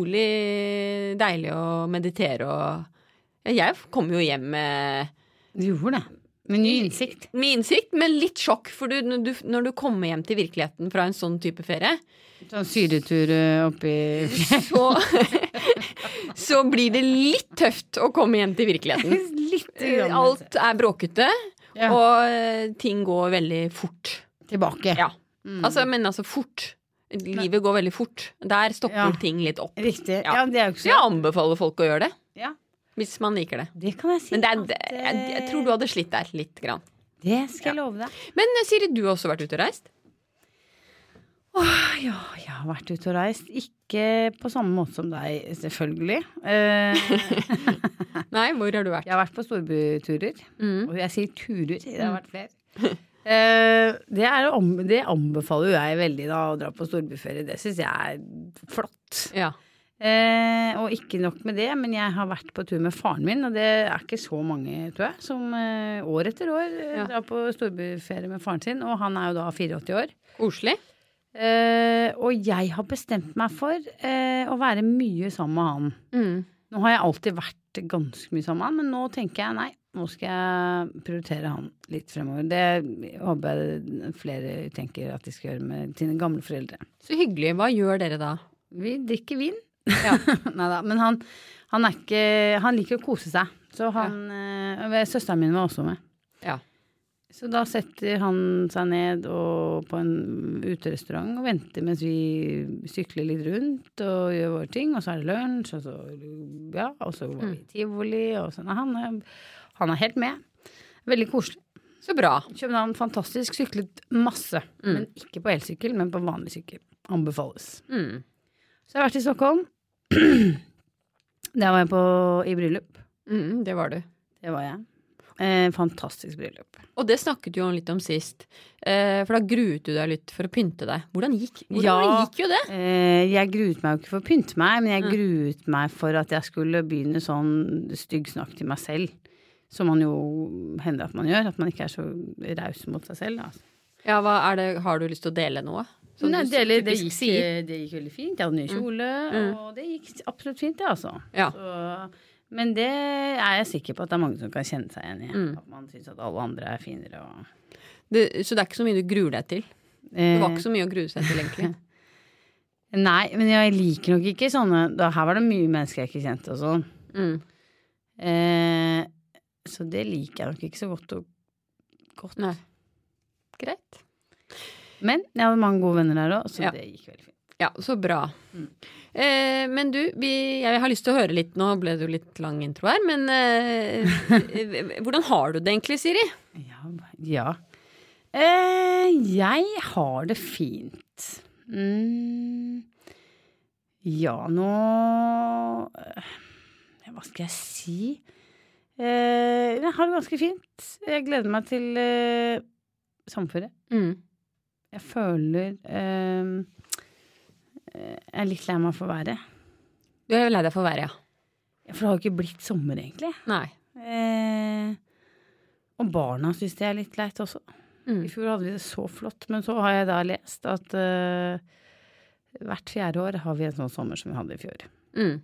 [SPEAKER 2] utrolig deilig å meditere og Jeg kom jo hjem med
[SPEAKER 3] Du gjorde det. Med ny innsikt.
[SPEAKER 2] med innsikt, men litt sjokk, for du, når, du, når du kommer hjem til virkeligheten fra en sånn type ferie,
[SPEAKER 3] Sånn syretur eh, oppi
[SPEAKER 2] så, [LAUGHS] så blir det litt tøft å komme hjem
[SPEAKER 3] [LAUGHS]
[SPEAKER 2] til virkeligheten. [LAUGHS]
[SPEAKER 3] Litt
[SPEAKER 2] Eh,
[SPEAKER 3] grann,
[SPEAKER 2] Alt er bråkete,
[SPEAKER 3] Ja.
[SPEAKER 2] og eh, ting går veldig fort.
[SPEAKER 3] tilbake.
[SPEAKER 2] Ja.
[SPEAKER 3] Mm.
[SPEAKER 2] Altså, men altså fort. Livet går veldig fort. Der stopper
[SPEAKER 3] Ja.
[SPEAKER 2] ting litt opp.
[SPEAKER 3] Riktig.
[SPEAKER 2] Ja.
[SPEAKER 3] Ja. det er jo ikke
[SPEAKER 2] Så
[SPEAKER 3] så
[SPEAKER 2] jeg anbefaler folk å gjøre det.
[SPEAKER 3] Ja.
[SPEAKER 2] Hvis man liker det.
[SPEAKER 3] Det kan jeg si.
[SPEAKER 2] Men det er,
[SPEAKER 3] at, eh,
[SPEAKER 2] det, jeg, jeg tror du hadde slitt der litt. Grann.
[SPEAKER 3] Det skal jeg love deg.
[SPEAKER 2] Men eh, Siri, du har også vært ute og reist?
[SPEAKER 3] Åh,
[SPEAKER 2] Ah,
[SPEAKER 3] ja, jeg har vært ute og reist. Ikke på samme måte som deg, selvfølgelig. Eh,
[SPEAKER 2] Nei, hvor har du vært?
[SPEAKER 3] jeg har vært på storbyturer.
[SPEAKER 2] Mm.
[SPEAKER 3] Og jeg sier turer, det har vært flere. Eh, det, er, å anbe- det anbefaler jo jeg veldig, da, å dra på storbyferie. Det syns jeg er flott.
[SPEAKER 2] Ja.
[SPEAKER 3] Eh, og ikke nok med det, men jeg har vært på tur med faren min, og det er ikke så mange, tror jeg, som eh, år etter år eh,
[SPEAKER 2] Ja.
[SPEAKER 3] drar på storbyferie med faren sin, og han er jo da 84 år.
[SPEAKER 2] Koselig?
[SPEAKER 3] Eh, og jeg har bestemt meg for eh, å være mye sammen med han.
[SPEAKER 2] Mm.
[SPEAKER 3] Nå har jeg alltid vært ganske mye sammen med han, men nå tenker jeg nei, nå skal jeg prioritere han litt fremover. Det håper jeg flere tenker at de skal gjøre med sine gamle foreldre.
[SPEAKER 2] Så hyggelig. Hva gjør dere da?
[SPEAKER 3] Vi drikker vin.
[SPEAKER 2] Ja.
[SPEAKER 3] [LAUGHS] Neida, men han, han er ikke Han liker å kose seg. Så han eh, Søsteren min var også med.
[SPEAKER 2] Ja.
[SPEAKER 3] Så da setter han seg ned og på en uterestaurant og venter mens vi sykler litt rundt og gjør våre ting, og så er det lunsj, og så, ja, og så var vi i tivoli, og sånn. Han, er- han er helt med. Veldig koselig.
[SPEAKER 2] Så bra.
[SPEAKER 3] København, fantastisk. Syklet masse. Men ikke på elsykkel, men på vanlig sykkel. Anbefales.
[SPEAKER 2] Mm.
[SPEAKER 3] Så jeg har vært i Stockholm. Der var jeg på, i bryllup.
[SPEAKER 2] Mm, det var du.
[SPEAKER 3] Det var jeg. Eh, fantastisk bryllup.
[SPEAKER 2] Og det snakket du jo litt om sist. Eh, for da gruet du deg litt for å pynte deg. Hvordan gikk, hvordan
[SPEAKER 3] Ja.
[SPEAKER 2] gikk jo det?
[SPEAKER 3] Eh, jeg gruet meg jo ikke for å pynte meg, men jeg gruet meg for at jeg skulle begynne sånn stygg snakk til meg selv. Som man jo hender at man gjør. At man ikke er så raus mot seg selv. Sånn Altså.
[SPEAKER 2] Ja, hva er det? Har du lyst til å dele noe? Som
[SPEAKER 3] Nei,
[SPEAKER 2] du
[SPEAKER 3] det, det,
[SPEAKER 2] typisk
[SPEAKER 3] gikk,
[SPEAKER 2] sier.
[SPEAKER 3] det gikk veldig fint. Jeg hadde ny kjole, og det gikk absolutt fint, det, altså.
[SPEAKER 2] Ja.
[SPEAKER 3] Så, men det er jeg sikker på at det er mange som kan kjenne seg igjen i. At man syns at alle andre er finere og
[SPEAKER 2] Det, så det er ikke så mye du gruer deg til? Det var
[SPEAKER 3] Eh,
[SPEAKER 2] ikke så mye å grue seg til, egentlig.
[SPEAKER 3] Nei, men jeg liker nok ikke sånne da, Her var det mye mennesker jeg ikke kjente og sånn.
[SPEAKER 2] [LAUGHS] Mm.
[SPEAKER 3] Eh, så det liker jeg nok ikke så godt. Og, godt.
[SPEAKER 2] Nei. Greit.
[SPEAKER 3] Men jeg hadde mange gode venner der òg, så
[SPEAKER 2] Ja.
[SPEAKER 3] det gikk veldig fint.
[SPEAKER 2] Ja, så bra. Eh, men du, vi, jeg har lyst til å høre litt Nå ble det jo litt lang intro her, men [LAUGHS] eh, Hvordan har du det egentlig, Siri?
[SPEAKER 3] Ja. ja. Eh, jeg har det fint. Mm. Ja, nå eh, Hva skal jeg si? Eh, jeg har det ganske fint. Jeg gleder meg til eh, samfunnet.
[SPEAKER 2] Mm.
[SPEAKER 3] Jeg føler eh, Jeg er litt lei meg for været.
[SPEAKER 2] Du er jo lei deg for været, ja.
[SPEAKER 3] For det har jo ikke blitt sommer, egentlig.
[SPEAKER 2] Nei.
[SPEAKER 3] Eh, og barna syns det er litt leit også.
[SPEAKER 2] Mm.
[SPEAKER 3] I fjor hadde vi det så flott, men så har jeg da lest at eh, hvert fjerde år har vi en sånn sommer som vi hadde i fjor.
[SPEAKER 2] Mm.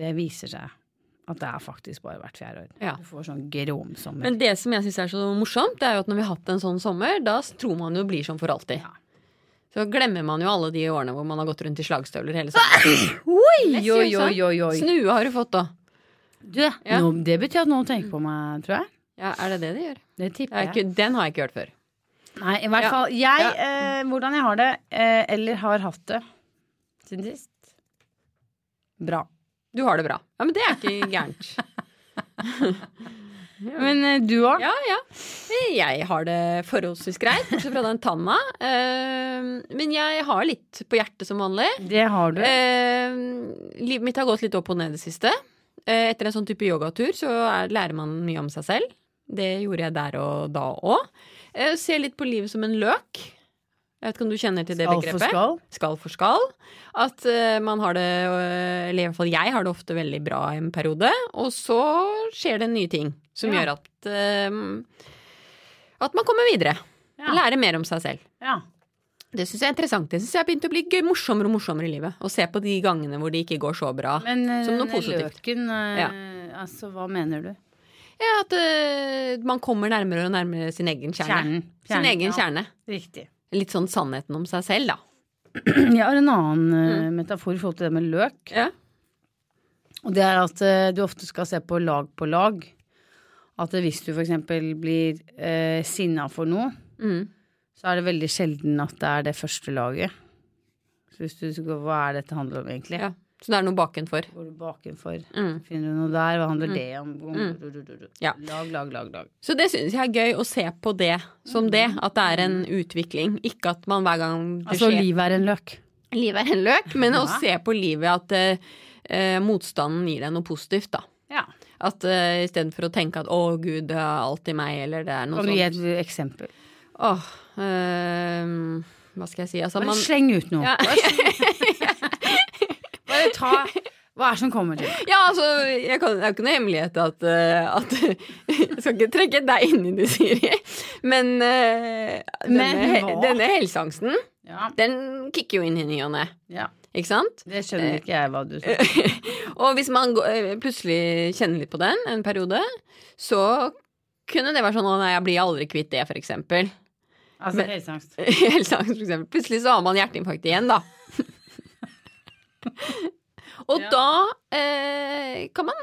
[SPEAKER 3] Det viser seg at det er faktisk bare hvert fjerde år.
[SPEAKER 2] Ja.
[SPEAKER 3] Du får sånn gråmsommer.
[SPEAKER 2] Men det som jeg syns er så morsomt, det er jo at når vi har hatt en sånn sommer, da tror man jo det blir sånn for alltid.
[SPEAKER 3] Ja.
[SPEAKER 2] Så glemmer man jo alle de årene hvor man har gått rundt i slagstøvler hele sommeren.
[SPEAKER 3] Oi,
[SPEAKER 2] Lessie
[SPEAKER 3] oi,
[SPEAKER 2] også.
[SPEAKER 3] oi, oi, oi.
[SPEAKER 2] Snue har du fått, da.
[SPEAKER 3] Du, nå, det betyr at noen tenker på meg, tror jeg.
[SPEAKER 2] Ja, er det det de gjør?
[SPEAKER 3] Det
[SPEAKER 2] Det er
[SPEAKER 3] tipper jeg.
[SPEAKER 2] ikke, den har jeg ikke hørt før.
[SPEAKER 3] Nei, i hvert
[SPEAKER 2] Ja.
[SPEAKER 3] fall jeg,
[SPEAKER 2] Ja.
[SPEAKER 3] eh, hvordan jeg har det, eh, eller har hatt det siden sist. Bra.
[SPEAKER 2] Du har det bra. Ja, Men det er ikke gærent.
[SPEAKER 3] Men eh, du òg?
[SPEAKER 2] [LAUGHS] Ja, ja. Jeg har det forholdsvis greit, bortsett fra den tanna. Eh, Men jeg har litt på hjertet som vanlig.
[SPEAKER 3] Det har du.
[SPEAKER 2] Eh, livet mitt har gått litt opp og ned i det siste. Eh, etter en sånn type yogatur så er, lærer man mye om seg selv. Det gjorde jeg der og da òg. Eh, ser litt på livet som en løk. Jeg vet ikke om du kjenner til det
[SPEAKER 3] Alt for
[SPEAKER 2] begrepet?
[SPEAKER 3] skall.
[SPEAKER 2] skal for skal. At eh, man har det, eh, eller i hvert fall jeg har det ofte veldig bra en periode, og så skjer det nye ting som
[SPEAKER 3] Ja.
[SPEAKER 2] gjør at eh, at man kommer videre.
[SPEAKER 3] Ja.
[SPEAKER 2] Lærer mer om seg selv.
[SPEAKER 3] Ja.
[SPEAKER 2] Det syns jeg er interessant. Det synes jeg har begynt å bli gøy, morsommere og morsommere i livet. Å se på de gangene hvor det ikke går så bra.
[SPEAKER 3] Men eh,
[SPEAKER 2] Som noe
[SPEAKER 3] denne
[SPEAKER 2] positivt.
[SPEAKER 3] løken, eh,
[SPEAKER 2] Ja.
[SPEAKER 3] altså hva mener du?
[SPEAKER 2] Ja, at eh, man kommer nærmere og nærmere sin egen kjerne. Sin egen
[SPEAKER 3] ja.
[SPEAKER 2] kjerne.
[SPEAKER 3] Riktig. [CLEARS THROAT]
[SPEAKER 2] Litt sånn sannheten om seg selv, da.
[SPEAKER 3] Jeg har en annen eh,
[SPEAKER 2] Mm.
[SPEAKER 3] metafor i forhold til det med løk.
[SPEAKER 2] Ja.
[SPEAKER 3] Og det er at eh, du ofte skal se på lag på lag. At eh, hvis du f.eks. blir eh, sinna for noe,
[SPEAKER 2] Mm.
[SPEAKER 3] så er det veldig sjelden at det er det første laget. Så hvis du skal, Hva er dette handler om, egentlig?
[SPEAKER 2] ja. Så det er noe bakenfor.
[SPEAKER 3] Går du bakenfor?
[SPEAKER 2] Mm.
[SPEAKER 3] Finner du noe der? Hva handler det om?
[SPEAKER 2] Ja.
[SPEAKER 3] Lag, lag, lag, lag.
[SPEAKER 2] Så det syns jeg er gøy å se på det som det, at det er en utvikling. Ikke at man hver gang det
[SPEAKER 3] Mm. Altså,
[SPEAKER 2] skjer
[SPEAKER 3] livet er en løk.
[SPEAKER 2] Livet er en løk, men å
[SPEAKER 3] Ja.
[SPEAKER 2] se på livet at eh, eh, motstanden gir deg noe positivt, da.
[SPEAKER 3] Ja.
[SPEAKER 2] At eh, istedenfor å tenke at å, gud, det er alltid meg, eller det er noe sånn».
[SPEAKER 3] Kan du gi
[SPEAKER 2] sånt.
[SPEAKER 3] et eksempel?
[SPEAKER 2] Åh, ehm, hva skal jeg si? Altså,
[SPEAKER 3] Bare
[SPEAKER 2] man
[SPEAKER 3] sleng ut noe.
[SPEAKER 2] Ja.
[SPEAKER 3] [LAUGHS] Bare ta Hva er det som kommer til deg?
[SPEAKER 2] Ja, altså, jeg kan, det er jo ikke noe hemmelighet at, eh, at [LAUGHS] Jeg skal ikke trekke deg inn i det, Siri, men, eh,
[SPEAKER 3] Men
[SPEAKER 2] denne, he-
[SPEAKER 3] hva?
[SPEAKER 2] denne helseangsten,
[SPEAKER 3] Ja,
[SPEAKER 2] den kicker jo inn i ny og ne,
[SPEAKER 3] ja.
[SPEAKER 2] ikke sant? [LAUGHS]
[SPEAKER 3] Det skjønner ikke jeg hva du sa.
[SPEAKER 2] Og hvis man gå- eh, plutselig kjenner litt på den en periode, så kunne det være sånn 'Å nei, jeg blir aldri kvitt det', for eksempel.
[SPEAKER 3] Altså,
[SPEAKER 2] men- [LAUGHS]
[SPEAKER 3] helseangst.
[SPEAKER 2] Helseangst, for eksempel. Plutselig så har man hjerteinfarkt igjen, da. [LAUGHS] Og
[SPEAKER 3] Ja.
[SPEAKER 2] da eh, kan man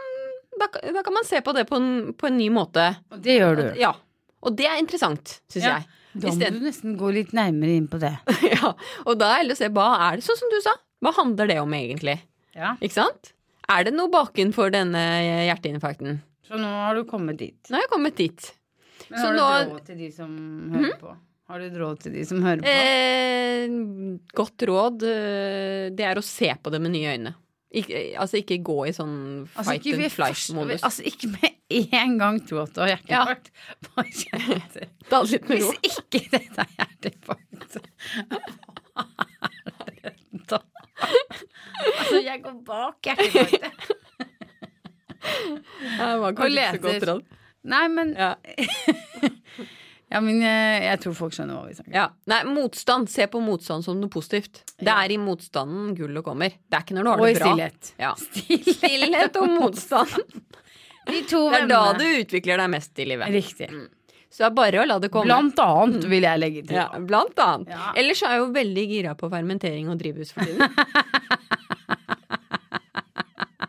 [SPEAKER 2] da, da kan man se på det på en, på en ny måte.
[SPEAKER 3] Og det gjør du.
[SPEAKER 2] Ja. Og det er interessant, syns
[SPEAKER 3] Ja.
[SPEAKER 2] jeg.
[SPEAKER 3] Da
[SPEAKER 2] [LAUGHS]
[SPEAKER 3] må
[SPEAKER 2] Isteden-
[SPEAKER 3] du nesten gå litt nærmere inn på det.
[SPEAKER 2] ja. Og da er det å se hva er det, sånn som du sa, hva handler det om egentlig?
[SPEAKER 3] Ja.
[SPEAKER 2] Ikke sant? Er det noe bakenfor denne hjerteinfarkten?
[SPEAKER 3] Så nå har du kommet dit.
[SPEAKER 2] Nå har jeg kommet dit.
[SPEAKER 3] Men
[SPEAKER 2] Så
[SPEAKER 3] har du
[SPEAKER 2] nå-
[SPEAKER 3] råd til de som hører på? Har du råd til de som hører på?
[SPEAKER 2] Eh, godt råd, eh, det er å se på det med nye øyne. Ikke, altså ikke gå i sånn
[SPEAKER 3] Altså
[SPEAKER 2] fight
[SPEAKER 3] ikke, ved
[SPEAKER 2] and
[SPEAKER 3] først-
[SPEAKER 2] flight-modus.
[SPEAKER 3] altså ikke med en gang tro at du har hjerteinfarkt. Bare kjenn etter.
[SPEAKER 2] Ta det litt med
[SPEAKER 3] Hvis
[SPEAKER 2] ro.
[SPEAKER 3] ikke dette er hjerteinfarkt, hva er det da? Altså, jeg går bak hjerteinfarktet.
[SPEAKER 2] Det var kanskje ikke så
[SPEAKER 3] leter.
[SPEAKER 2] godt råd.
[SPEAKER 3] Nei, men
[SPEAKER 2] Ja.
[SPEAKER 3] Ja, men eh, jeg tror folk skjønner hva vi snakker om.
[SPEAKER 2] Ja. Nei, motstand. Se på motstand som noe positivt. Det
[SPEAKER 3] Ja.
[SPEAKER 2] er i motstanden gullet kommer. Det er ikke når du har
[SPEAKER 3] Og i
[SPEAKER 2] det bra.
[SPEAKER 3] stillhet.
[SPEAKER 2] Ja.
[SPEAKER 3] Stillhet.
[SPEAKER 2] Stillhet
[SPEAKER 3] [LAUGHS]
[SPEAKER 2] og motstand.
[SPEAKER 3] De to
[SPEAKER 2] Det er da du utvikler deg mest i livet.
[SPEAKER 3] Riktig.
[SPEAKER 2] Så det er bare å la det komme.
[SPEAKER 3] Blant annet, vil jeg legge til.
[SPEAKER 2] Mm. Ja, blant annet.
[SPEAKER 3] Ja.
[SPEAKER 2] Ellers er jeg jo veldig gira på fermentering og drivhus for
[SPEAKER 3] [LAUGHS]
[SPEAKER 2] tiden.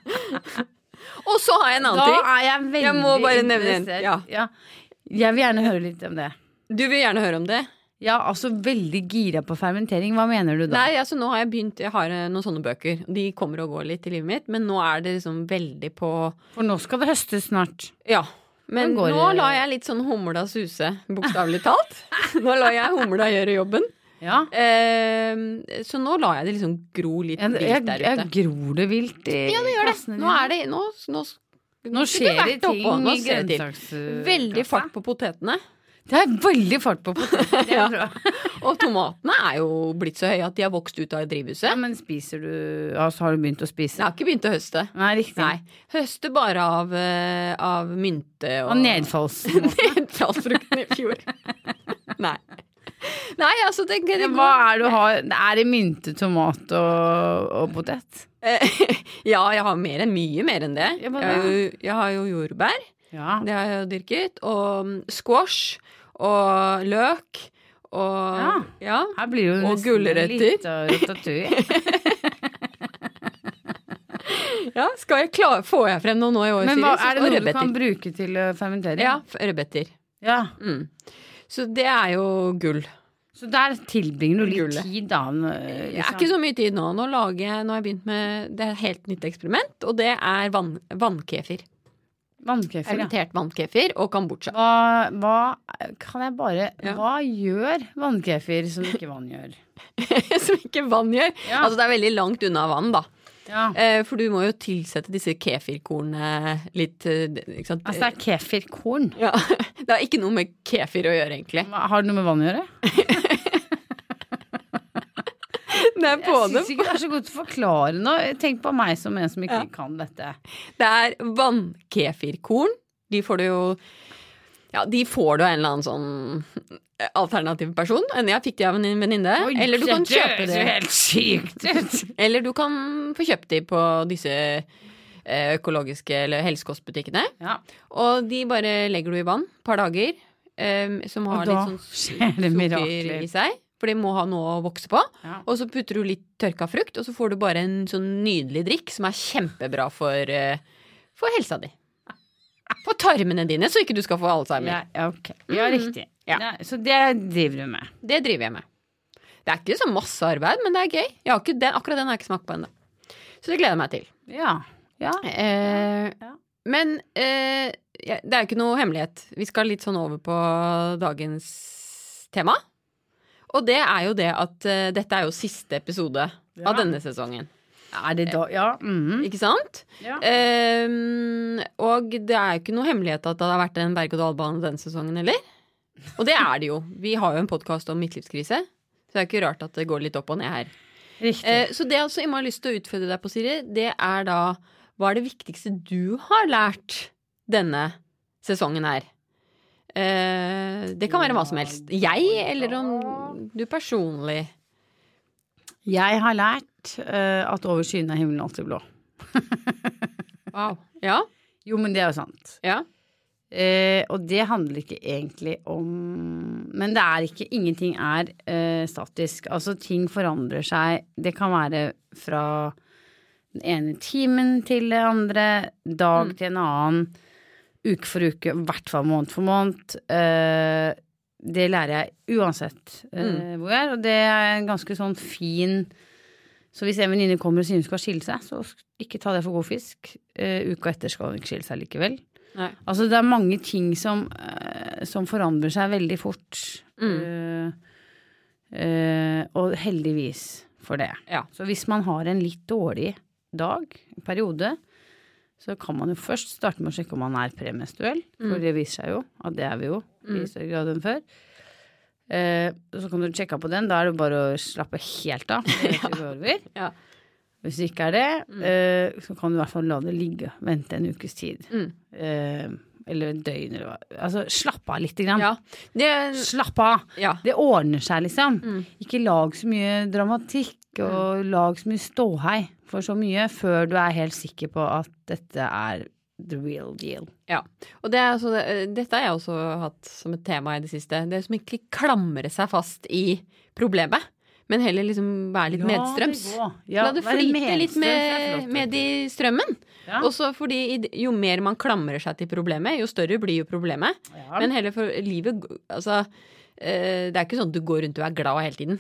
[SPEAKER 2] og så har jeg en
[SPEAKER 3] Da
[SPEAKER 2] annen ting.
[SPEAKER 3] er jeg veldig
[SPEAKER 2] Jeg må bare nevne en,
[SPEAKER 3] interessert.
[SPEAKER 2] ja.
[SPEAKER 3] Ja. Jeg vil gjerne høre litt om det.
[SPEAKER 2] Du vil gjerne høre om det?
[SPEAKER 3] Ja, altså veldig gira på fermentering. Hva mener du da?
[SPEAKER 2] Nei, altså nå har jeg begynt Jeg har eh, noen sånne bøker. De kommer og går litt i livet mitt, men nå er det liksom veldig på
[SPEAKER 3] For nå skal det høstes snart.
[SPEAKER 2] Ja. Men
[SPEAKER 3] Nå går
[SPEAKER 2] nå
[SPEAKER 3] det-
[SPEAKER 2] lar jeg litt sånn humla suse, bokstavelig talt.
[SPEAKER 3] [LAUGHS]
[SPEAKER 2] nå lar jeg humla gjøre jobben.
[SPEAKER 3] Ja.
[SPEAKER 2] Eh, så nå lar jeg det liksom gro litt
[SPEAKER 3] Jeg,
[SPEAKER 2] vilt
[SPEAKER 3] jeg,
[SPEAKER 2] der ute.
[SPEAKER 3] jeg gror det vilt i
[SPEAKER 2] Ja, det gjør det. Nå er det Nå, nå,
[SPEAKER 3] Nå skjer det ting
[SPEAKER 2] oppå. Nå
[SPEAKER 3] i
[SPEAKER 2] skjer det ting.
[SPEAKER 3] grønnsaks-
[SPEAKER 2] Veldig
[SPEAKER 3] kassa.
[SPEAKER 2] fart på potetene.
[SPEAKER 3] Det er veldig fart på poteter. det
[SPEAKER 2] [LAUGHS] Ja.
[SPEAKER 3] er bra.
[SPEAKER 2] Og tomatene er jo blitt så høye at de har vokst ut av
[SPEAKER 3] Ja,
[SPEAKER 2] drivhuset.
[SPEAKER 3] men spiser du Altså, har du begynt å
[SPEAKER 2] Jeg
[SPEAKER 3] spise?
[SPEAKER 2] har ikke begynt å høste.
[SPEAKER 3] Nei, riktig.
[SPEAKER 2] Nei. Høste bare av, eh, av mynte og
[SPEAKER 3] Og nedfalls...
[SPEAKER 2] [LAUGHS] Nedfallsfrukten i fjor.
[SPEAKER 3] [LAUGHS]
[SPEAKER 2] Nei. Nei, altså det, det
[SPEAKER 3] Men
[SPEAKER 2] går-
[SPEAKER 3] Hva er det du har? Det er i mynte, tomat og, og potet?
[SPEAKER 2] Eh, [LAUGHS] Ja, jeg har mer enn mye mer enn det.
[SPEAKER 3] Ja,
[SPEAKER 2] Jeg
[SPEAKER 3] men
[SPEAKER 2] har jo, jeg har jo jordbær.
[SPEAKER 3] Ja.
[SPEAKER 2] Det har jeg jo dyrket. Og mm, squash og løk Og, ja.
[SPEAKER 3] Her blir det jo
[SPEAKER 2] Og
[SPEAKER 3] nesten
[SPEAKER 2] gulrøtter.
[SPEAKER 3] litt eh, av
[SPEAKER 2] [LAUGHS]
[SPEAKER 3] ratatouille.
[SPEAKER 2] Ja, skal jeg klare, får jeg frem noe nå i år,
[SPEAKER 3] Men
[SPEAKER 2] Siri?
[SPEAKER 3] hva,
[SPEAKER 2] så-
[SPEAKER 3] er det
[SPEAKER 2] og
[SPEAKER 3] noe du
[SPEAKER 2] rødbeter.
[SPEAKER 3] kan bruke til å fermentere?
[SPEAKER 2] Ja, f- rødbeter.
[SPEAKER 3] Ja.
[SPEAKER 2] Mm. Så det er jo gull.
[SPEAKER 3] Så der tilbringer du litt
[SPEAKER 2] Gullet.
[SPEAKER 3] tid, da. Liksom.
[SPEAKER 2] Det er ikke så mye tid nå. Nå, lager jeg, nå har jeg begynt med det er et helt nytt eksperiment, og det er vann, vannkefir.
[SPEAKER 3] Vannkefir, ja.
[SPEAKER 2] Fermentert vannkefir og [LAUGHS] kambodsja.
[SPEAKER 3] Hva, hva kan jeg bare
[SPEAKER 2] Ja.
[SPEAKER 3] Hva gjør vannkefir som ikke vann gjør?
[SPEAKER 2] Som ikke vann gjør.
[SPEAKER 3] Ja.
[SPEAKER 2] Altså det er veldig langt unna vann, da.
[SPEAKER 3] Ja.
[SPEAKER 2] Eh, For du må jo tilsette disse kefirkornene litt eh, ikke sant?
[SPEAKER 3] Altså, det er kefirkorn.
[SPEAKER 2] ja. [LAUGHS] det har ikke noe med kefir å gjøre, egentlig.
[SPEAKER 3] Hva- Har det noe med vann å gjøre?
[SPEAKER 2] Det er
[SPEAKER 3] Jeg
[SPEAKER 2] både
[SPEAKER 3] syns ikke det er så godt å forklare nå. Tenk på meg som en som ikke
[SPEAKER 2] Ja.
[SPEAKER 3] kan dette.
[SPEAKER 2] Det er vannkefirkorn. De får du jo Ja, de får du av en eller annen sånn alternativ person. En jeg fikk de av en venninne.
[SPEAKER 3] Oi,
[SPEAKER 2] Eller du kan
[SPEAKER 3] det
[SPEAKER 2] kjøpe
[SPEAKER 3] høres jo
[SPEAKER 2] de.
[SPEAKER 3] helt sykt ut. [LAUGHS]
[SPEAKER 2] Eller du kan få kjøpt de på disse eh, økologiske eller helsekostbutikkene.
[SPEAKER 3] Ja.
[SPEAKER 2] Og de bare legger du i vann et par dager. eh, som
[SPEAKER 3] Og
[SPEAKER 2] har
[SPEAKER 3] da
[SPEAKER 2] litt sånn
[SPEAKER 3] skjer det
[SPEAKER 2] sukker
[SPEAKER 3] mirakler.
[SPEAKER 2] i seg. For de må ha noe å vokse på.
[SPEAKER 3] Ja.
[SPEAKER 2] Og så putter du litt tørka frukt, og så får du bare en sånn nydelig drikk som er kjempebra for, eh, for helsa di. For tarmene dine, så ikke du skal få
[SPEAKER 3] Ja,
[SPEAKER 2] alzheimer.
[SPEAKER 3] ja, ok. ja riktig.
[SPEAKER 2] Ja.
[SPEAKER 3] Mm. Ja, så det driver du med.
[SPEAKER 2] Det driver jeg med. Det er ikke så masse arbeid, men det er gøy. Jeg har ikke den, akkurat den har jeg ikke smakt på ennå. Så det gleder jeg meg til.
[SPEAKER 3] Ja. ja.
[SPEAKER 2] Eh,
[SPEAKER 3] Ja.
[SPEAKER 2] Men eh, ja, det er jo ikke noe hemmelighet. Vi skal litt sånn over på dagens tema. Og det er jo det at eh, dette er jo siste episode
[SPEAKER 3] Ja.
[SPEAKER 2] av denne sesongen.
[SPEAKER 3] Er det da Ja. Eh, mhm.
[SPEAKER 2] Ikke sant?
[SPEAKER 3] ja.
[SPEAKER 2] Ehm, og det er jo ikke noe hemmelighet at det har vært en berg-og-dal-bane denne sesongen heller. Og det er det jo. Vi har jo en podkast om midtlivskrise. Så det er ikke rart at det går litt opp og ned her.
[SPEAKER 3] Riktig.
[SPEAKER 2] Eh, så det jeg også Imma har lyst til å utfordre deg på, Siri, det er da hva er det viktigste du har lært denne sesongen her? Eh, det kan være hva som helst. Jeg, eller om du personlig.
[SPEAKER 3] Jeg har lært eh, at over skyene er himmelen alltid blå.
[SPEAKER 2] Wow. Ja?
[SPEAKER 3] Jo, men det er jo sant.
[SPEAKER 2] Ja?
[SPEAKER 3] Eh, og det handler ikke egentlig om Men det er ikke Ingenting er eh, statisk. Altså, ting forandrer seg. Det kan være fra den ene timen til det andre, dag til en annen, uke for uke, i hvert fall måned for måned. Eh, det lærer jeg uansett eh, hvor jeg er, og det er en ganske sånn fin Så hvis en venninne kommer og sier hun skal skille seg, så sk- ikke ta det for god fisk. Eh, uka etter skal hun ikke skille seg likevel.
[SPEAKER 2] Nei.
[SPEAKER 3] Altså det er mange ting som, eh, som forandrer seg veldig fort.
[SPEAKER 2] Mm.
[SPEAKER 3] Eh, eh, og heldigvis for det.
[SPEAKER 2] Ja.
[SPEAKER 3] Så hvis man har en litt dårlig dag, en periode, så kan man jo først starte med å sjekke om man er premenstruell.
[SPEAKER 2] Mm.
[SPEAKER 3] For det viser seg jo at det er vi jo i større grad enn før. Eh, så kan du sjekke på den. Da er det bare å slappe helt av.
[SPEAKER 2] [LAUGHS]
[SPEAKER 3] Det vet vi går over.
[SPEAKER 2] Ja. Mm.
[SPEAKER 3] Hvis det ikke er det, eh, så kan du i hvert fall la det ligge. Vente en ukes tid.
[SPEAKER 2] Mm.
[SPEAKER 3] Eh, eller et døgn, eller hva. Altså, slapp av lite grann.
[SPEAKER 2] ja. Det, Mm.
[SPEAKER 3] Slapp av!
[SPEAKER 2] ja.
[SPEAKER 3] Det ordner seg, liksom. Ikke lag så mye dramatikk og
[SPEAKER 2] Mm.
[SPEAKER 3] lag så mye ståhei for så mye før du er helt sikker på at dette er the real deal.
[SPEAKER 2] Ja. Og det er altså, det- dette har jeg også hatt som et tema i det siste. Det som ikke klamrer seg fast i problemet, men heller liksom være litt nedstrøms. La det flyte litt med, med i strømmen.
[SPEAKER 3] Ja.
[SPEAKER 2] Også fordi i d- jo mer man klamrer seg til problemet, jo større blir jo problemet.
[SPEAKER 3] Ja.
[SPEAKER 2] Men heller for livet g- Altså, eh, det er ikke sånn at du går rundt og er glad hele tiden.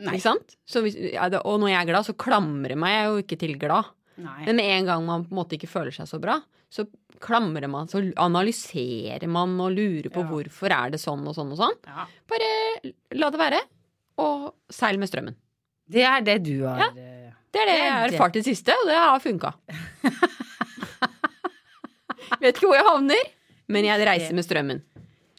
[SPEAKER 3] Nei.
[SPEAKER 2] Ikke sant? Så hvis, ja, det- og når jeg er glad, så klamrer meg jeg jo ikke til glad.
[SPEAKER 3] Nei.
[SPEAKER 2] Men med en gang man på en måte ikke føler seg så bra, så klamrer man, så analyserer man og lurer på
[SPEAKER 3] Ja.
[SPEAKER 2] hvorfor er det sånn og sånn og sånn.
[SPEAKER 3] Ja.
[SPEAKER 2] Bare la det være, og seil med strømmen.
[SPEAKER 3] Det er det du har eh,
[SPEAKER 2] Det er det jeg har
[SPEAKER 3] Det er
[SPEAKER 2] erfart i det siste, og det har funka. Vet ikke hvor jeg havner, men jeg reiser med strømmen.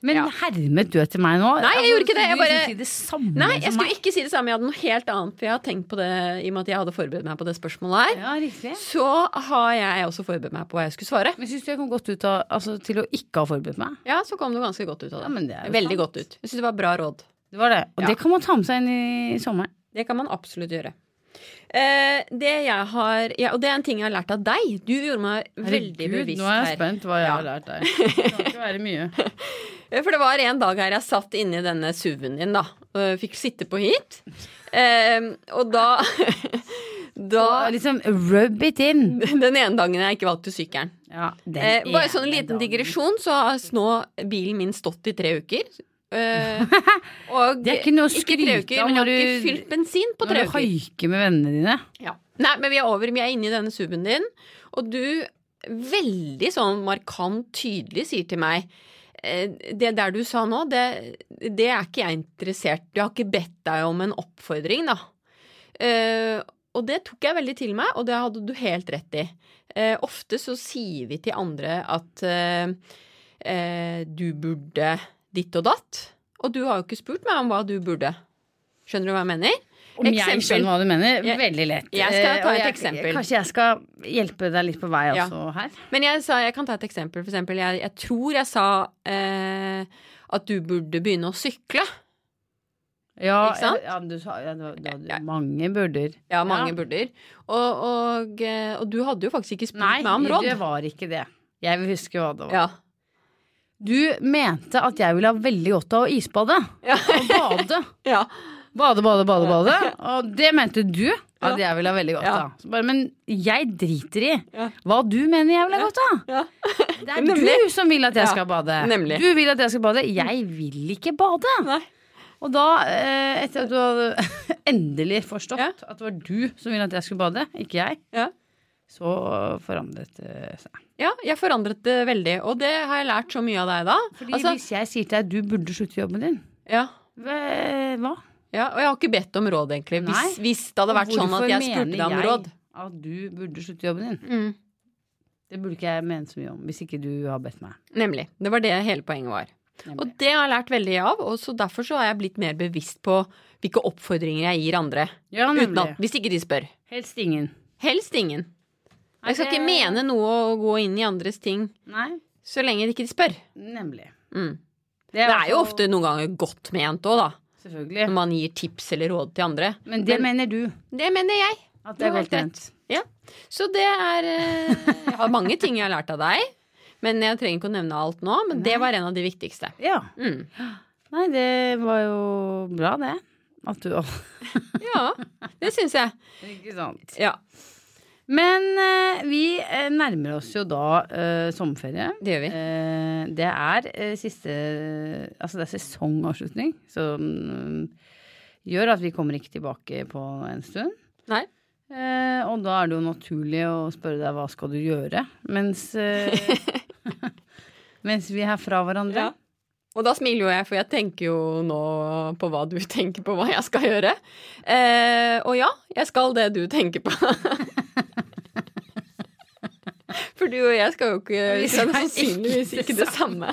[SPEAKER 3] Men
[SPEAKER 2] Ja.
[SPEAKER 3] hermet du etter meg nå? Altså,
[SPEAKER 2] Nei, jeg gjorde ikke det, jeg
[SPEAKER 3] skulle
[SPEAKER 2] bare-
[SPEAKER 3] si det samme
[SPEAKER 2] Nei, jeg
[SPEAKER 3] som
[SPEAKER 2] skulle
[SPEAKER 3] meg.
[SPEAKER 2] ikke si det samme, jeg hadde noe helt annet, for jeg har tenkt på det i og med at jeg hadde forberedt meg på det spørsmålet her.
[SPEAKER 3] Ja, riktig.
[SPEAKER 2] Så har jeg også forberedt meg på hva jeg skulle svare.
[SPEAKER 3] Men syns du jeg kom godt ut av altså, til å ikke ha forberedt meg?
[SPEAKER 2] Ja, så kom du ganske godt ut av
[SPEAKER 3] Ja,
[SPEAKER 2] det.
[SPEAKER 3] men det er jo
[SPEAKER 2] Veldig
[SPEAKER 3] sant.
[SPEAKER 2] godt ut. Jeg syns det var bra råd.
[SPEAKER 3] Det var det. Og
[SPEAKER 2] Ja.
[SPEAKER 3] det kan man ta med seg inn i sommeren.
[SPEAKER 2] Det kan man absolutt gjøre. Eh, det jeg har ja, Og det er en ting jeg har lært av deg. Du gjorde meg veldig
[SPEAKER 3] Herregud,
[SPEAKER 2] bevisst
[SPEAKER 3] nå er jeg
[SPEAKER 2] her. [LAUGHS]
[SPEAKER 3] spent hva jeg
[SPEAKER 2] Ja.
[SPEAKER 3] har lært deg. Det kan ikke være mye.
[SPEAKER 2] Eh, For det var en dag her jeg satt inni denne SUV-en din, da. og Fikk sitte på hit. Eh, og da, [LAUGHS] da
[SPEAKER 3] Og liksom rub it in.
[SPEAKER 2] Den ene dagen jeg ikke valgte sykkelen.
[SPEAKER 3] Ja, den
[SPEAKER 2] Eh, bare sånn
[SPEAKER 3] ene
[SPEAKER 2] liten
[SPEAKER 3] dagen.
[SPEAKER 2] digresjon, så har s- nå bilen min stått i tre uker.
[SPEAKER 3] [LAUGHS]
[SPEAKER 2] Eh, og
[SPEAKER 3] Det er ikke noe å
[SPEAKER 2] tre
[SPEAKER 3] skryte
[SPEAKER 2] uker,
[SPEAKER 3] av
[SPEAKER 2] men jeg
[SPEAKER 3] når
[SPEAKER 2] har ikke
[SPEAKER 3] du-
[SPEAKER 2] fylt bensin på tre
[SPEAKER 3] Når du
[SPEAKER 2] uker.
[SPEAKER 3] haiker med vennene dine.
[SPEAKER 2] Ja. Nei, men vi er over. Vi er inne i denne suben din, og du veldig sånn markant tydelig sier til meg eh, det der du sa nå, det, det er ikke jeg interessert Jeg har ikke bedt deg om en oppfordring, da. Eh, og det tok jeg veldig til meg, og det hadde du helt rett i. Eh, ofte så sier vi til andre at eh, eh, du burde ditt og datt, og du har jo ikke spurt meg om hva du burde. Skjønner du hva jeg mener?
[SPEAKER 3] Om
[SPEAKER 2] Eksempel.
[SPEAKER 3] jeg skjønner hva du mener?
[SPEAKER 2] Jeg-
[SPEAKER 3] Veldig lett.
[SPEAKER 2] jeg skal
[SPEAKER 3] Eh,
[SPEAKER 2] ta
[SPEAKER 3] og
[SPEAKER 2] et
[SPEAKER 3] jeg-
[SPEAKER 2] eksempel.
[SPEAKER 3] Kanskje jeg skal hjelpe deg litt på vei
[SPEAKER 2] Ja.
[SPEAKER 3] også her?
[SPEAKER 2] Men jeg, sa, jeg kan ta et eksempel. For eksempel, jeg, jeg tror jeg sa eh, at du burde begynne å sykle.
[SPEAKER 3] Ja,
[SPEAKER 2] Ikke sant?
[SPEAKER 3] ja, du sa ja, du, du, hadde
[SPEAKER 2] Ja.
[SPEAKER 3] mange burder.
[SPEAKER 2] Ja, mange
[SPEAKER 3] Ja.
[SPEAKER 2] burder. Og, og, eh, og du hadde jo faktisk ikke spurt
[SPEAKER 3] Nei,
[SPEAKER 2] meg om råd.
[SPEAKER 3] det var ikke det. Jeg vil huske hva det var.
[SPEAKER 2] Ja.
[SPEAKER 3] Du mente at jeg ville ha veldig godt av å isbade.
[SPEAKER 2] Ja. [LAUGHS]
[SPEAKER 3] Og bade.
[SPEAKER 2] ja.
[SPEAKER 3] Bade, bade, bade, bade. Og det mente du at jeg ville ha veldig godt
[SPEAKER 2] Ja.
[SPEAKER 3] av. Så bare, men jeg driter i
[SPEAKER 2] Ja.
[SPEAKER 3] hva du mener jeg vil ha godt av.
[SPEAKER 2] ja.
[SPEAKER 3] [LAUGHS] Det er
[SPEAKER 2] Nemlig.
[SPEAKER 3] du som vil at jeg
[SPEAKER 2] Ja,
[SPEAKER 3] skal bade.
[SPEAKER 2] nemlig.
[SPEAKER 3] Du vil at jeg skal bade. Jeg vil ikke bade.
[SPEAKER 2] Nei.
[SPEAKER 3] Og da, eh, etter at du hadde [LAUGHS] endelig forstått
[SPEAKER 2] Ja.
[SPEAKER 3] at det var du som ville at jeg skulle bade, ikke jeg,
[SPEAKER 2] Ja.
[SPEAKER 3] så forandret det seg.
[SPEAKER 2] ja, jeg forandret det veldig. Og det har jeg lært så mye av deg da.
[SPEAKER 3] Fordi
[SPEAKER 2] Altså,
[SPEAKER 3] hvis jeg sier til deg du burde slutte jobben din,
[SPEAKER 2] ja,
[SPEAKER 3] hva- hva?
[SPEAKER 2] ja, og jeg har ikke bedt om råd, egentlig. Hvis,
[SPEAKER 3] Nei.
[SPEAKER 2] hvis det hadde vært sånn at
[SPEAKER 3] Hvorfor
[SPEAKER 2] jeg spurte
[SPEAKER 3] mener
[SPEAKER 2] deg om
[SPEAKER 3] jeg
[SPEAKER 2] råd.
[SPEAKER 3] At du burde slutte jobben din.
[SPEAKER 2] Mm.
[SPEAKER 3] Det burde ikke jeg mene så mye om hvis ikke du har bedt meg.
[SPEAKER 2] Nemlig. Det var det hele poenget var.
[SPEAKER 3] Nemlig.
[SPEAKER 2] Og det har jeg lært veldig av, og så derfor så har jeg blitt mer bevisst på hvilke oppfordringer jeg gir andre.
[SPEAKER 3] Ja,
[SPEAKER 2] Uten at, hvis ikke de spør.
[SPEAKER 3] Helst ingen.
[SPEAKER 2] Helst ingen. Jeg skal
[SPEAKER 3] Nei,
[SPEAKER 2] ikke
[SPEAKER 3] det-
[SPEAKER 2] mene noe å gå inn i andres ting
[SPEAKER 3] Nei,
[SPEAKER 2] så lenge de ikke spør.
[SPEAKER 3] nemlig. altså
[SPEAKER 2] Mm. Det er jo ofte noen ganger godt ment òg, da.
[SPEAKER 3] Selvfølgelig.
[SPEAKER 2] Når man gir tips eller råd til andre.
[SPEAKER 3] Men det mener du.
[SPEAKER 2] Det mener jeg.
[SPEAKER 3] At
[SPEAKER 2] Du
[SPEAKER 3] det er
[SPEAKER 2] har
[SPEAKER 3] godt
[SPEAKER 2] helt rett.
[SPEAKER 3] ment.
[SPEAKER 2] Ja. Så det er eh, Jeg har mange ting jeg har lært av deg. Men jeg trenger ikke å nevne alt nå. Men det var en av de viktigste.
[SPEAKER 3] Ja.
[SPEAKER 2] Mm.
[SPEAKER 3] Nei, det var jo bra, det. At du
[SPEAKER 2] Ja, det syns jeg.
[SPEAKER 3] [LAUGHS] Ikke sant.
[SPEAKER 2] Ja,
[SPEAKER 3] Men eh, vi eh, nærmer oss jo da eh, sommerferie.
[SPEAKER 2] det gjør vi.
[SPEAKER 3] Eh, det er eh, siste Altså det er sesongavslutning som mm, gjør at vi kommer ikke tilbake på en stund.
[SPEAKER 2] Nei.
[SPEAKER 3] Eh, og da er det jo naturlig å spørre deg hva skal du gjøre mens eh, [LAUGHS] Mens vi er fra hverandre.
[SPEAKER 2] Ja. Og da smiler jo jeg, for jeg tenker jo nå på hva du [LAUGHS] tenker på hva jeg skal gjøre. Eh, og ja, jeg skal det du tenker på. [LAUGHS] For du og jeg skal jo ikke
[SPEAKER 3] Vi
[SPEAKER 2] [LAUGHS] Vi skal
[SPEAKER 3] skal
[SPEAKER 2] sannsynligvis
[SPEAKER 3] ikke
[SPEAKER 2] ikke det samme.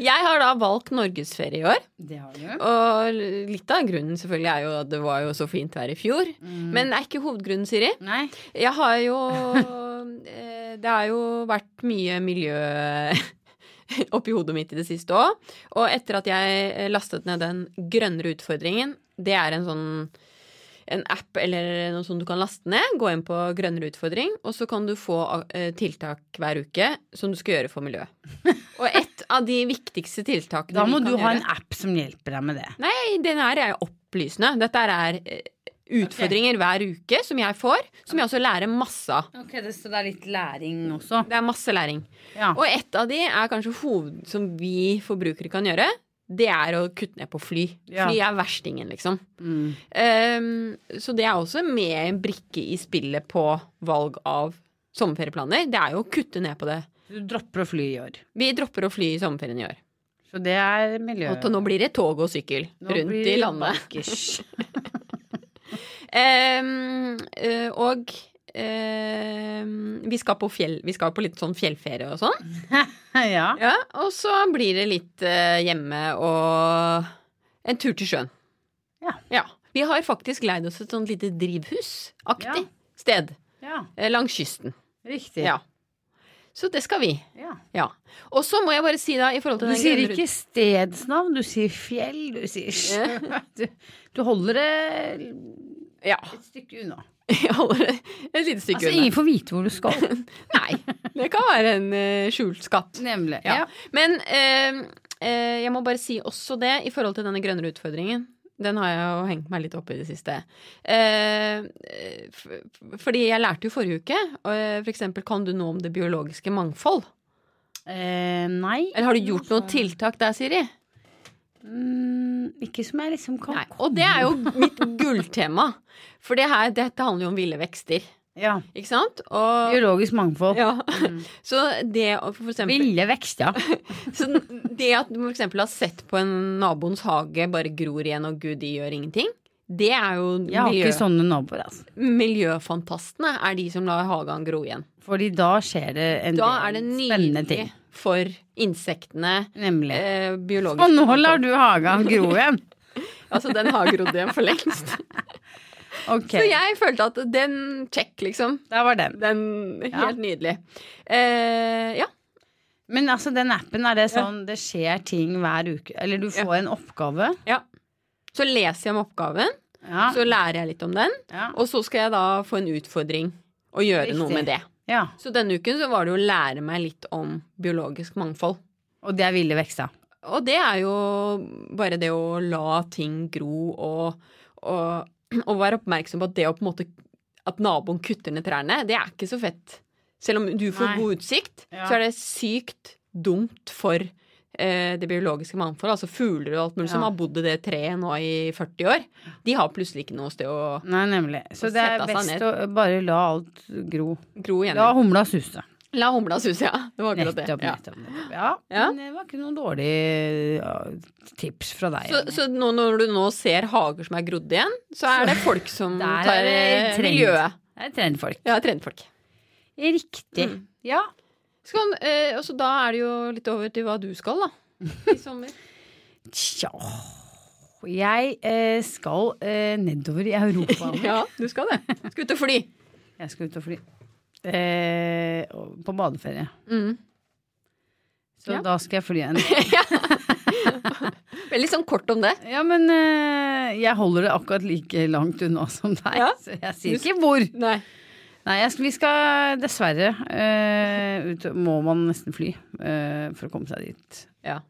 [SPEAKER 2] Jeg har da valgt norgesferie i år.
[SPEAKER 3] Det har du.
[SPEAKER 2] Og litt av grunnen selvfølgelig er jo at det var jo så fint vær i fjor. Men det er ikke hovedgrunnen, Siri.
[SPEAKER 3] Mm. Nei.
[SPEAKER 2] Jeg har jo [LAUGHS] eh, Det har jo vært mye miljø [LAUGHS] oppi hodet mitt i det siste òg. Og etter at jeg eh, lastet ned den grønnere utfordringen, det er en sånn en app eller noe sånt du kan laste ned. Gå inn på Grønnere utfordring, og så kan du få eh, tiltak hver uke som du skal gjøre for miljøet. Og et av de viktigste
[SPEAKER 3] [LAUGHS]
[SPEAKER 2] tiltakene
[SPEAKER 3] Da må
[SPEAKER 2] vi kan
[SPEAKER 3] du ha
[SPEAKER 2] gjøre-
[SPEAKER 3] en app som hjelper deg med det.
[SPEAKER 2] Nei, den her er opplysende. Dette her er eh, utfordringer hver uke som jeg får, som jeg også lærer masse av.
[SPEAKER 3] Ok, det- Så det er litt læring også?
[SPEAKER 2] Det er masse læring.
[SPEAKER 3] Ja.
[SPEAKER 2] Og et av de er kanskje hoved, som vi forbrukere kan gjøre. Det er å kutte ned på fly.
[SPEAKER 3] Ja.
[SPEAKER 2] Fly er verstingen, liksom.
[SPEAKER 3] Mm.
[SPEAKER 2] Ehm, så det er også med en brikke i spillet på valg av sommerferieplaner. Det er jo å kutte ned på det.
[SPEAKER 3] Du dropper å fly i år.
[SPEAKER 2] Vi dropper å fly i sommerferien i år.
[SPEAKER 3] Så det er miljø...
[SPEAKER 2] Og nå blir det tog og sykkel
[SPEAKER 3] Nå blir
[SPEAKER 2] rundt
[SPEAKER 3] det
[SPEAKER 2] i landet.
[SPEAKER 3] bankers.
[SPEAKER 2] [LAUGHS] Ehm, eh, og ehm, vi, skal på fjell, vi skal på litt sånn fjellferie og sånn.
[SPEAKER 3] [LAUGHS] ja.
[SPEAKER 2] Ja, og så blir det litt eh, hjemme og en tur til sjøen.
[SPEAKER 3] Ja.
[SPEAKER 2] Vi har faktisk leid oss et sånt lite drivhusaktig
[SPEAKER 3] Ja.
[SPEAKER 2] sted
[SPEAKER 3] ja.
[SPEAKER 2] eh, langs kysten.
[SPEAKER 3] Riktig.
[SPEAKER 2] Ja. Så det skal vi.
[SPEAKER 3] Ja.
[SPEAKER 2] Ja. Og så må jeg bare si da i forhold
[SPEAKER 3] Du
[SPEAKER 2] til den
[SPEAKER 3] sier
[SPEAKER 2] grønne
[SPEAKER 3] ikke stedsnavn, du sier fjell, du sier sjø. [LAUGHS] Du, du holder det
[SPEAKER 2] ruten- Ja. [LAUGHS]
[SPEAKER 3] et stykke unna.
[SPEAKER 2] Jeg holder det et lite stykke
[SPEAKER 3] Altså, ingen får vite hvor du
[SPEAKER 2] [LAUGHS]
[SPEAKER 3] skal.
[SPEAKER 2] unna. Nei. Det kan være en eh, skjult skatt.
[SPEAKER 3] Nemlig.
[SPEAKER 2] Ja. Men eh, eh, jeg må bare si også det i forhold til denne grønnere utfordringen. Den har jeg jo hengt meg litt opp i det siste. Eh, f f- fordi jeg lærte jo forrige uke, eh, for eksempel, kan du noe om det biologiske mangfold?
[SPEAKER 3] Eh, nei. Altså,
[SPEAKER 2] Eller har du gjort noen tiltak der, Siri?
[SPEAKER 3] Mm, ikke som jeg liksom kan
[SPEAKER 2] Nei, og det er jo mitt gulltema. For det her, dette handler jo om ville vekster,
[SPEAKER 3] Ja.
[SPEAKER 2] ikke sant? Og,
[SPEAKER 3] Biologisk mangfold.
[SPEAKER 2] ja. [LAUGHS] Så det å for eksempel
[SPEAKER 3] Ville vekst,
[SPEAKER 2] [LAUGHS]
[SPEAKER 3] ja.
[SPEAKER 2] Så det at du f.eks. har sett på en naboens hage bare gror igjen, og gud, de gjør ingenting, det er jo
[SPEAKER 3] Jeg har
[SPEAKER 2] miljø,
[SPEAKER 3] ikke sånne naboer, altså.
[SPEAKER 2] miljøfantastene er de som lar hagen gro igjen.
[SPEAKER 3] Fordi da skjer det en
[SPEAKER 2] Da
[SPEAKER 3] del
[SPEAKER 2] er det
[SPEAKER 3] spennende
[SPEAKER 2] nydelig
[SPEAKER 3] ting.
[SPEAKER 2] for insektene,
[SPEAKER 3] Nemlig.
[SPEAKER 2] eh, biologisk
[SPEAKER 3] Og nå lar du hagen gro igjen!
[SPEAKER 2] Altså, den har grodd igjen for lengst.
[SPEAKER 3] [LAUGHS] Ok,
[SPEAKER 2] Så jeg følte at den check, liksom.
[SPEAKER 3] der var den.
[SPEAKER 2] Den helt
[SPEAKER 3] Ja.
[SPEAKER 2] nydelig. Eh, ja.
[SPEAKER 3] Men altså, den appen, er det sånn det skjer ting hver uke? Eller du får en oppgave?
[SPEAKER 2] ja. Så leser jeg om oppgaven,
[SPEAKER 3] Ja.
[SPEAKER 2] så lærer jeg litt om den,
[SPEAKER 3] Ja.
[SPEAKER 2] og så skal jeg da få en utfordring og gjøre
[SPEAKER 3] Riktig.
[SPEAKER 2] noe med det.
[SPEAKER 3] ja.
[SPEAKER 2] Så denne uken så var det jo å lære meg litt om biologisk mangfold.
[SPEAKER 3] Og det er ville vekster.
[SPEAKER 2] Og det er jo bare det å la ting gro og, og, og være oppmerksom på at det å på en måte At naboen kutter ned trærne, det er ikke så fett. Selv om du får
[SPEAKER 3] Nei.
[SPEAKER 2] god utsikt,
[SPEAKER 3] Ja.
[SPEAKER 2] så er det sykt dumt for eh, det biologiske mangfoldet. Altså fugler og alt mulig som
[SPEAKER 3] Ja.
[SPEAKER 2] har bodd i det treet nå i 40 år. De har plutselig ikke noe sted å
[SPEAKER 3] Nei, nemlig. Så
[SPEAKER 2] Og
[SPEAKER 3] det er
[SPEAKER 2] sette seg
[SPEAKER 3] best
[SPEAKER 2] ned.
[SPEAKER 3] å bare la alt gro.
[SPEAKER 2] gro igjen.
[SPEAKER 3] La
[SPEAKER 2] La,
[SPEAKER 3] humla suse.
[SPEAKER 2] humla suse, ja. Det var akkurat det.
[SPEAKER 3] Nettopp,
[SPEAKER 2] Ja.
[SPEAKER 3] nettopp. nettopp. Ja.
[SPEAKER 2] Ja.
[SPEAKER 3] Men det var ikke noen dårlige ja, tips fra deg.
[SPEAKER 2] Så,
[SPEAKER 3] Jenny.
[SPEAKER 2] så nå, når du nå ser hager som er grodd igjen, så er det folk
[SPEAKER 3] [LAUGHS]
[SPEAKER 2] som
[SPEAKER 3] Der er
[SPEAKER 2] tar
[SPEAKER 3] det
[SPEAKER 2] eh,
[SPEAKER 3] trend.
[SPEAKER 2] miljøet.
[SPEAKER 3] Det er trendfolk.
[SPEAKER 2] Ja, trendfolk.
[SPEAKER 3] Riktig.
[SPEAKER 2] Mm.
[SPEAKER 3] Ja.
[SPEAKER 2] Skal, eh, og så da er det jo litt over til hva du skal, da. I sommer.
[SPEAKER 3] Tja. Jeg eh, skal eh, nedover i Europa.
[SPEAKER 2] [LAUGHS] ja, du skal det. Skal ut og fly.
[SPEAKER 3] Jeg skal ut og fly. Eh, og- på badeferie.
[SPEAKER 2] Mm.
[SPEAKER 3] Så
[SPEAKER 2] Ja.
[SPEAKER 3] da skal jeg fly igjen. [LAUGHS]
[SPEAKER 2] Veldig sånn kort om det.
[SPEAKER 3] Ja, men eh, jeg holder det akkurat like langt unna som deg.
[SPEAKER 2] Ja.
[SPEAKER 3] Så jeg sier ikke hvor.
[SPEAKER 2] Nei.
[SPEAKER 3] Nei, jeg, skal- vi skal dessverre eh, ut Må man nesten fly eh, for å komme seg dit.
[SPEAKER 2] Ja.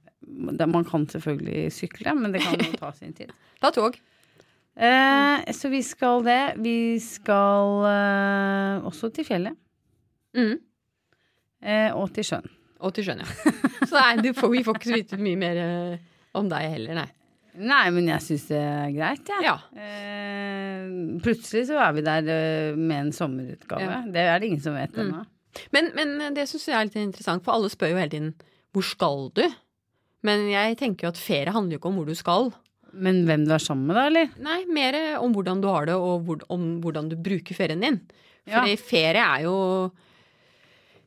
[SPEAKER 3] Da- Man kan selvfølgelig sykle, men det kan jo ta sin
[SPEAKER 2] [LAUGHS]
[SPEAKER 3] tid.
[SPEAKER 2] Ta tog.
[SPEAKER 3] Eh, så vi skal det. Vi skal eh, også til fjellet.
[SPEAKER 2] Mm.
[SPEAKER 3] Eh, og til sjøen.
[SPEAKER 2] Og til sjøen, ja. Så nei, du får, vi får ikke så vite mye mer eh, om deg heller, nei.
[SPEAKER 3] Nei, men jeg syns det er greit, jeg.
[SPEAKER 2] Ja.
[SPEAKER 3] Eh, plutselig så er vi der eh, med en sommerutgave.
[SPEAKER 2] Ja.
[SPEAKER 3] Det er det ingen som vet
[SPEAKER 2] Mm.
[SPEAKER 3] ennå.
[SPEAKER 2] Men, men eh, det syns jeg er litt interessant, for alle spør jo hele tiden hvor skal du? Men jeg tenker jo at ferie handler jo ikke om hvor du skal.
[SPEAKER 3] Men hvem du er sammen med, da, eller?
[SPEAKER 2] Nei, mer om hvordan du har det, og hvor, om hvordan du bruker ferien din.
[SPEAKER 3] Ja.
[SPEAKER 2] Fordi ferie er jo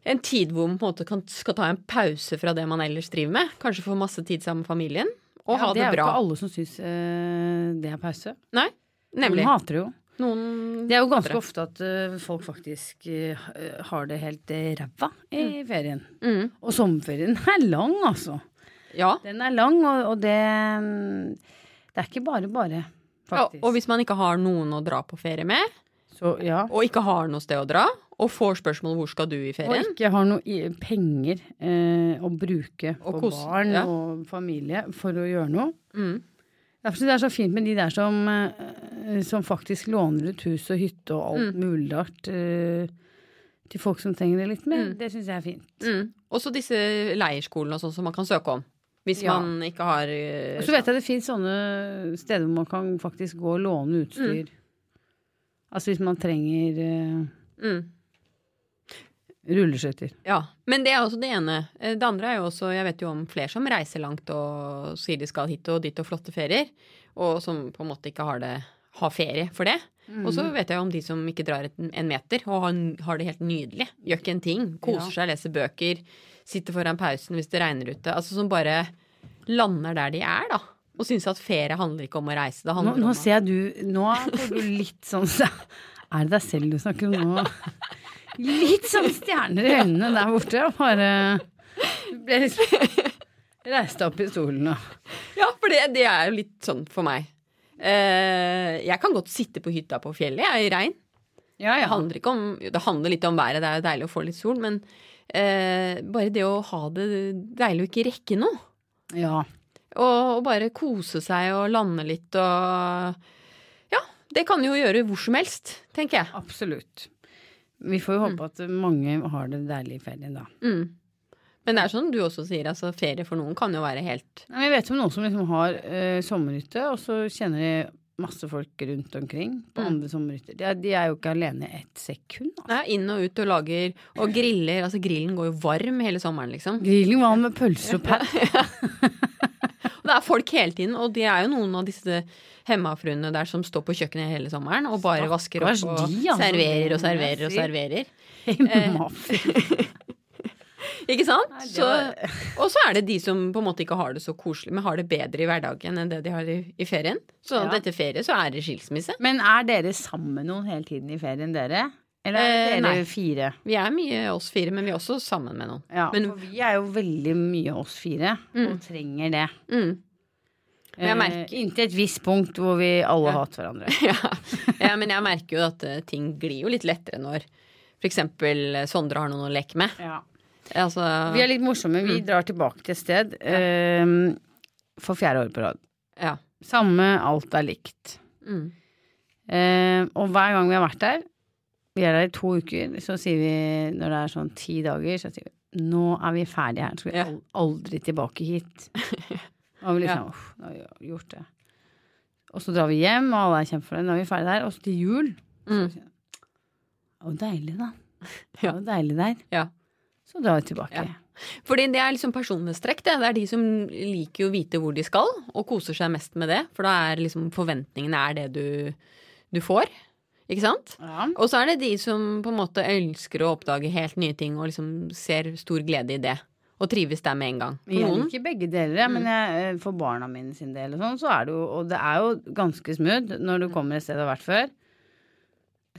[SPEAKER 2] en tid hvor man på en måte kan, skal ta en pause fra det man ellers driver med. Kanskje få masse tid sammen med familien, og
[SPEAKER 3] Ja,
[SPEAKER 2] ha det,
[SPEAKER 3] er jo
[SPEAKER 2] bra.
[SPEAKER 3] ikke alle som syns eh, det er pause.
[SPEAKER 2] Nei, nemlig.
[SPEAKER 3] Noen hater det jo.
[SPEAKER 2] Noen
[SPEAKER 3] Det er jo ganske ofte at eh, folk faktisk eh, har det helt eh, ræva i ferien.
[SPEAKER 2] mm,
[SPEAKER 3] Og sommerferien er lang, altså.
[SPEAKER 2] Ja.
[SPEAKER 3] Den er lang, og, og det mm, Det er ikke bare bare,
[SPEAKER 2] ja.
[SPEAKER 3] faktisk.
[SPEAKER 2] Og hvis man ikke har noen å dra på ferie med,
[SPEAKER 3] Så ja.
[SPEAKER 2] og ikke har noe sted å dra, og får spørsmål hvor skal du i ferien,
[SPEAKER 3] Og ikke har noe i- penger eh, å bruke på
[SPEAKER 2] Og kose-
[SPEAKER 3] barn
[SPEAKER 2] ja.
[SPEAKER 3] og familie for å gjøre noe.
[SPEAKER 2] Mm.
[SPEAKER 3] Derfor synes jeg det er så fint med de der som, eh, som faktisk låner ut hus og hytte og alt
[SPEAKER 2] Mm.
[SPEAKER 3] mulig rart eh, til folk som trenger det litt mer. Det syns jeg er fint.
[SPEAKER 2] Mm. Også disse leirskolene og sånn som man kan søke om. Hvis
[SPEAKER 3] Ja.
[SPEAKER 2] man ikke har eh,
[SPEAKER 3] Og så vet jeg det fins sånne steder hvor man kan faktisk gå og låne utstyr. Altså hvis man trenger eh,
[SPEAKER 2] mm.
[SPEAKER 3] rulleskøyter.
[SPEAKER 2] Ja. Men det er også det ene. Eh, Det andre er jo også Jeg vet jo om flere som reiser langt og sier de skal hit og dit og flotte ferier, og som på en måte ikke har det har ferie for det.
[SPEAKER 3] Mm.
[SPEAKER 2] Og så vet jeg om de som ikke drar et- en meter og har, har det helt nydelig. Gjør ikke en ting. Koser seg, leser bøker, sitter foran pausen hvis det regner ute. Altså som bare lander der de er, da. Og syns at ferie handler ikke om å reise. Det
[SPEAKER 3] Nå,
[SPEAKER 2] handler
[SPEAKER 3] nå
[SPEAKER 2] om å
[SPEAKER 3] ser jeg du Nå får du litt sånn [LAUGHS] Er det deg selv du snakker om
[SPEAKER 2] [LAUGHS]
[SPEAKER 3] nå? Litt sånn stjerner i øynene der borte. og Bare du ble liksom Reiste opp i stolen og
[SPEAKER 2] [LAUGHS] Ja, for det, det er jo litt sånn for meg. Eh, jeg kan godt sitte på hytta på fjellet, jeg, i regn.
[SPEAKER 3] Ja,
[SPEAKER 2] Det handler, ikke om, jo, det handler litt om været, det er jo deilig å få litt sol, men eh, bare det å ha det deilig å ikke rekke noe.
[SPEAKER 3] Ja.
[SPEAKER 2] Og, og bare kose seg og lande litt og Ja, det kan du jo gjøre hvor som helst, tenker jeg.
[SPEAKER 3] Absolutt. Vi får jo håpe at mange har det deilig i ferien, da.
[SPEAKER 2] Mm. Men det er sånn du også sier, altså ferie for noen kan jo være helt
[SPEAKER 3] Nei, men Jeg vet om noen som liksom har eh, sommerhytte, og så kjenner de masse folk rundt omkring på
[SPEAKER 2] Mm.
[SPEAKER 3] andre sommerhytter. De, er- de er jo ikke alene et sekund. Altså.
[SPEAKER 2] Nei, inn og ut og lager og griller. Altså grillen går jo varm hele sommeren, liksom.
[SPEAKER 3] Grillen var med pølser og [LAUGHS] pærer.
[SPEAKER 2] [LAUGHS] Og det er folk hele tiden, og det er jo noen av disse hemmafruene der som står på kjøkkenet hele sommeren og bare vasker opp
[SPEAKER 3] Stakkars
[SPEAKER 2] og
[SPEAKER 3] de, altså.
[SPEAKER 2] serverer og serverer og
[SPEAKER 3] Jeg
[SPEAKER 2] serverer. Eh,
[SPEAKER 3] Hemmafra.
[SPEAKER 2] [LAUGHS] Ikke sant?
[SPEAKER 3] Nei, det
[SPEAKER 2] Så,
[SPEAKER 3] var-
[SPEAKER 2] og så er det de som på en måte ikke har det så koselig, men har det bedre i hverdagen enn det de har i, i ferien. Så
[SPEAKER 3] Ja.
[SPEAKER 2] etter ferie så er det skilsmisse.
[SPEAKER 3] Men er dere sammen med noen hele tiden i ferien, dere? Eller er
[SPEAKER 2] Eh,
[SPEAKER 3] dere
[SPEAKER 2] nei.
[SPEAKER 3] fire?
[SPEAKER 2] Vi er mye oss fire, men vi er også sammen med noen.
[SPEAKER 3] Ja,
[SPEAKER 2] Men-
[SPEAKER 3] for vi er jo veldig mye oss fire, og trenger det.
[SPEAKER 2] Mm. [LAUGHS] Men jeg merker-
[SPEAKER 3] eh, inntil et visst punkt hvor vi alle hater hverandre.
[SPEAKER 2] Ja. ja, men jeg merker jo at eh, ting glir jo litt lettere når for eksempel eh, Sondre har noen å leke med.
[SPEAKER 3] Ja.
[SPEAKER 2] Altså,
[SPEAKER 3] Vi er litt morsomme.
[SPEAKER 2] Mm.
[SPEAKER 3] Vi drar tilbake til et sted eh, for fjerde år på rad.
[SPEAKER 2] ja.
[SPEAKER 3] Samme, alt er likt.
[SPEAKER 2] Mm.
[SPEAKER 3] Eh, og hver gang vi har vært der, vi er der i to uker, så sier vi når det er sånn ti dager, så sier vi nå er vi ferdige her, skal vi
[SPEAKER 2] Ja.
[SPEAKER 3] al- aldri tilbake hit.
[SPEAKER 2] [LAUGHS]
[SPEAKER 3] Nå har vi liksom uff, nå har vi gjort det. Og så drar vi hjem, og alle er kjempefornøyde, nå er vi ferdige der. Og så til jul.
[SPEAKER 2] Mm.
[SPEAKER 3] Å, deilig, da. Det var deilig der.
[SPEAKER 2] [LAUGHS] Ja.
[SPEAKER 3] Så drar vi tilbake.
[SPEAKER 2] Ja. Fordi det er liksom personlighetstrekk. Det. det er de som liker å vite hvor de skal, og koser seg mest med det. For da er liksom forventningene er det du, du får. Ikke sant?
[SPEAKER 3] Ja.
[SPEAKER 2] Og så er det de som på en måte elsker å oppdage helt nye ting og liksom ser stor glede i det. Og trives der med en gang. For
[SPEAKER 3] Jeg
[SPEAKER 2] noen
[SPEAKER 3] liker begge deler, jeg, men jeg, eh, for barna mine sin del og sånn, så er det jo Og det er jo ganske smooth når du kommer et sted du har vært før.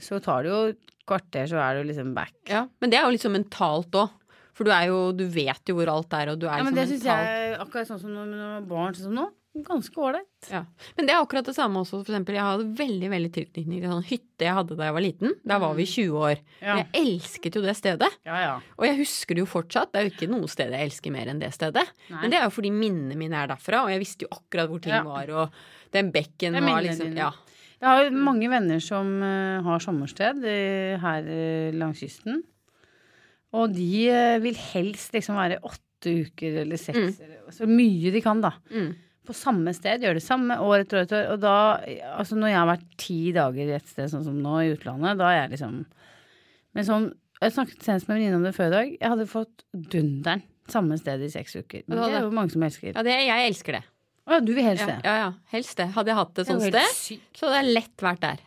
[SPEAKER 3] Så tar det jo et kvarter, så er du liksom back.
[SPEAKER 2] Ja, men det er jo litt sånn mentalt òg. For du, er jo, du vet jo hvor alt er, og du er
[SPEAKER 3] Ja,
[SPEAKER 2] liksom
[SPEAKER 3] men det syns
[SPEAKER 2] mentalt
[SPEAKER 3] jeg, akkurat sånn som når når man har barn sånn som nå, ganske ålreit.
[SPEAKER 2] ja. Men det er akkurat det samme også. For eksempel, jeg hadde veldig veldig tilknytning til en sånn hytte jeg hadde da jeg var liten. Der var vi i 20 år.
[SPEAKER 3] Mm. Ja.
[SPEAKER 2] Men jeg elsket jo det stedet.
[SPEAKER 3] Ja, ja.
[SPEAKER 2] Og jeg husker det jo fortsatt. Det er jo ikke noe sted jeg elsker mer enn det stedet.
[SPEAKER 3] Nei.
[SPEAKER 2] Men det er jo fordi minnene mine er derfra, og jeg visste jo akkurat hvor ting
[SPEAKER 3] Ja.
[SPEAKER 2] var, og den bekken
[SPEAKER 3] Det er
[SPEAKER 2] var
[SPEAKER 3] minnene
[SPEAKER 2] liksom
[SPEAKER 3] dine.
[SPEAKER 2] Ja.
[SPEAKER 3] Jeg har jo mange venner som eh, har sommersted eh, her eh, langs kysten. Og de eh, vil helst liksom være åtte uker eller seks, eller, så mye de kan, da.
[SPEAKER 2] Mm.
[SPEAKER 3] på samme sted, gjør det samme år etter år etter år. Og da, altså når jeg har vært ti dager et sted, sånn som nå i utlandet, da er jeg liksom Men sånn, jeg snakket senest med en venninne om det før i dag, jeg hadde fått dunderen samme sted i seks uker. Men
[SPEAKER 2] Ja,
[SPEAKER 3] det
[SPEAKER 2] det-
[SPEAKER 3] er jo mange som elsker.
[SPEAKER 2] ja det, jeg elsker det.
[SPEAKER 3] Å ja, du vil helst
[SPEAKER 2] Ja,
[SPEAKER 3] det.
[SPEAKER 2] ja, ja. Helst det. Hadde jeg hatt det
[SPEAKER 3] Det er
[SPEAKER 2] sånn
[SPEAKER 3] jo helt
[SPEAKER 2] sted,
[SPEAKER 3] sykt.
[SPEAKER 2] så hadde jeg lett vært der.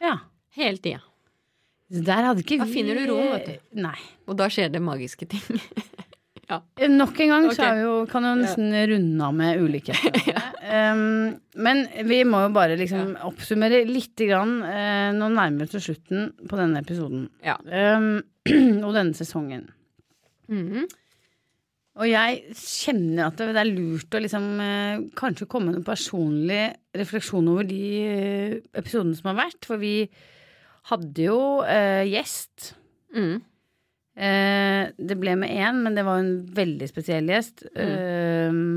[SPEAKER 3] Ja.
[SPEAKER 2] Hele tida.
[SPEAKER 3] Så der hadde ikke
[SPEAKER 2] Da
[SPEAKER 3] vi
[SPEAKER 2] finner du roen, vet du.
[SPEAKER 3] Nei.
[SPEAKER 2] Og da skjer det magiske ting. [LAUGHS]
[SPEAKER 3] Nok en gang
[SPEAKER 2] Ok.
[SPEAKER 3] så er vi jo, kan jo nesten runde av med
[SPEAKER 2] [LAUGHS]
[SPEAKER 3] ulikhetene. um, men vi må jo bare liksom oppsummere lite grann. eh, nå nærmer vi oss slutten på denne episoden.
[SPEAKER 2] Ja.
[SPEAKER 3] Um, [CLEARS THROAT] og denne sesongen. Mm-hmm.
[SPEAKER 2] Mhm.
[SPEAKER 3] Og jeg kjenner at det det er lurt å liksom eh, kanskje komme med en personlig refleksjon over de eh, episodene som har vært. For vi hadde jo eh, gjest.
[SPEAKER 2] Mhm.
[SPEAKER 3] Eh, det ble med én, men det var en veldig spesiell gjest.
[SPEAKER 2] Mm.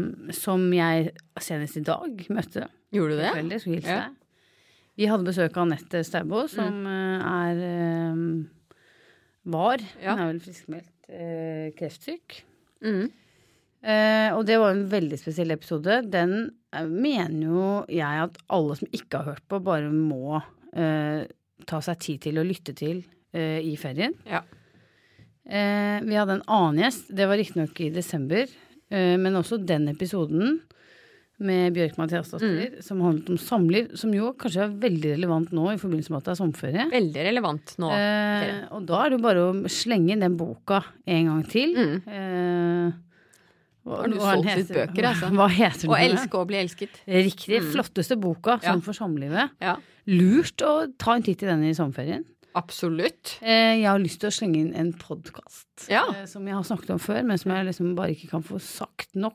[SPEAKER 3] eh, som jeg senest i dag møtte.
[SPEAKER 2] Gjorde du det?
[SPEAKER 3] Veldig, skulle hilse
[SPEAKER 2] Ja.
[SPEAKER 3] deg. Vi hadde besøk av Anette Staubo, som eh, er eh, var,
[SPEAKER 2] Mm. Ja.
[SPEAKER 3] hun er vel friskmeldt, eh, kreftsyk.
[SPEAKER 2] Mhm.
[SPEAKER 3] Eh, og det var en veldig spesiell episode. Den eh, mener jo jeg at alle som ikke har hørt på, bare må eh, ta seg tid til å lytte til eh, i ferien.
[SPEAKER 2] Ja.
[SPEAKER 3] Eh, vi hadde en annen gjest, det var riktignok i desember, eh, men også den episoden med Bjørk Mathiasdatter,
[SPEAKER 2] Mm.
[SPEAKER 3] som handlet om samliv, som jo kanskje er veldig relevant nå i forbindelse med at det er sommerferie.
[SPEAKER 2] Veldig relevant nå.
[SPEAKER 3] Eh,
[SPEAKER 2] dere.
[SPEAKER 3] og da er det jo bare å slenge inn den boka en gang til.
[SPEAKER 2] Mm.
[SPEAKER 3] Eh, hva,
[SPEAKER 2] Har du
[SPEAKER 3] hva den
[SPEAKER 2] solgt litt
[SPEAKER 3] heter-
[SPEAKER 2] bøker, altså?
[SPEAKER 3] Hva heter den?
[SPEAKER 2] Og elske å bli elsket.
[SPEAKER 3] Riktig. Flotteste boka
[SPEAKER 2] Ja.
[SPEAKER 3] sånn for samlivet.
[SPEAKER 2] Ja,
[SPEAKER 3] Lurt å ta en titt i den i sommerferien.
[SPEAKER 2] absolutt.
[SPEAKER 3] Eh, jeg har lyst til å slenge inn en podkast
[SPEAKER 2] Ja.
[SPEAKER 3] eh, som jeg har snakket om før, men som jeg liksom bare ikke kan få sagt nok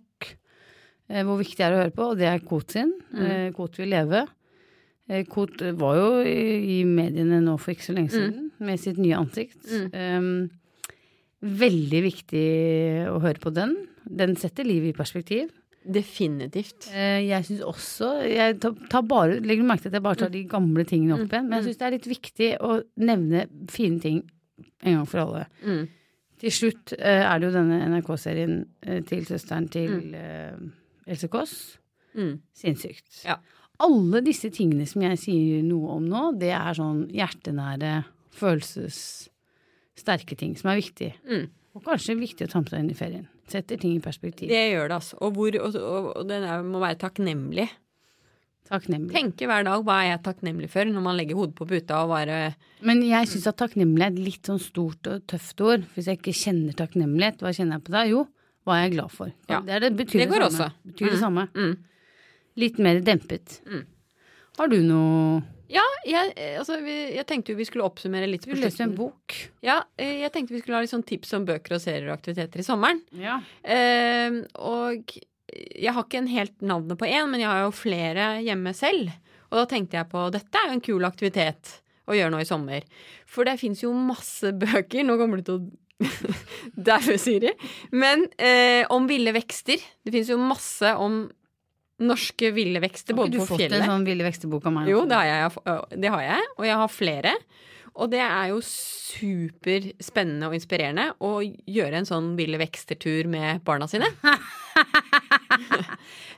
[SPEAKER 3] eh, hvor viktig det er å høre på, og det er Kot sin. Eh, Kot vil leve. Eh, Kot var jo i, i mediene nå for ikke så lenge siden med sitt nye ansikt. Ehm, Eh, veldig viktig å høre på den. Den setter livet i perspektiv.
[SPEAKER 2] Definitivt.
[SPEAKER 3] Eh, Jeg syns også jeg tar, tar bare, Legger du merke til at jeg bare tar de gamle tingene
[SPEAKER 2] Mm.
[SPEAKER 3] opp igjen? Men jeg syns det er litt viktig å nevne fine ting en gang for alle.
[SPEAKER 2] Mm.
[SPEAKER 3] Til slutt eh, er det jo denne NRK-serien eh, til søsteren til eh, Else Kåss.
[SPEAKER 2] Mm.
[SPEAKER 3] Sinnssykt.
[SPEAKER 2] Ja.
[SPEAKER 3] Alle disse tingene som jeg sier noe om nå, det er sånn hjertenære, følelsessterke ting som er viktig.
[SPEAKER 2] Mm.
[SPEAKER 3] Og kanskje viktig å ta med seg inn i ferien. Setter ting i perspektiv.
[SPEAKER 2] Det gjør det, altså. Og, hvor, og, og, og den er, må være takknemlig.
[SPEAKER 3] Takknemlig.
[SPEAKER 2] Tenke hver dag hva er jeg takknemlig for, når man legger hodet på puta og bare
[SPEAKER 3] Men jeg syns at takknemlig er et litt sånn stort og tøft ord. For Hvis jeg ikke kjenner takknemlighet, hva kjenner jeg på da? Jo, hva er jeg glad for?
[SPEAKER 2] Ja.
[SPEAKER 3] Det, er det, betyr
[SPEAKER 2] Det
[SPEAKER 3] det,
[SPEAKER 2] går
[SPEAKER 3] samme.
[SPEAKER 2] også.
[SPEAKER 3] Betyr det samme.
[SPEAKER 2] mm.
[SPEAKER 3] Litt mer dempet.
[SPEAKER 2] Mm.
[SPEAKER 3] Har du noe
[SPEAKER 2] Ja, jeg, eh, altså, vi, jeg tenkte jo vi skulle oppsummere litt.
[SPEAKER 3] Du
[SPEAKER 2] på
[SPEAKER 3] leste jo en
[SPEAKER 2] slutten.
[SPEAKER 3] bok.
[SPEAKER 2] Ja, eh, jeg tenkte vi skulle ha litt sånn tips om bøker og serier og aktiviteter i sommeren.
[SPEAKER 3] Ja.
[SPEAKER 2] Eh, og jeg har ikke en helt navnet på én, men jeg har jo flere hjemme selv. Og da tenkte jeg på dette er jo en kul aktivitet å gjøre nå i sommer. For det fins jo masse [LAUGHS] bøker. Nå kommer du til å [LAUGHS] daue, Siri. Men eh, om ville vekster. Det fins jo masse om norske ville vekster,
[SPEAKER 3] Har ikke
[SPEAKER 2] både
[SPEAKER 3] du
[SPEAKER 2] på
[SPEAKER 3] fått
[SPEAKER 2] fjellet
[SPEAKER 3] en sånn Ville vekster-bok av meg?
[SPEAKER 2] jo,
[SPEAKER 3] også?
[SPEAKER 2] det har, jeg, øh, det har jeg, og jeg har flere. Og det er jo superspennende og inspirerende å gjøre en sånn ville vekster-tur med barna sine.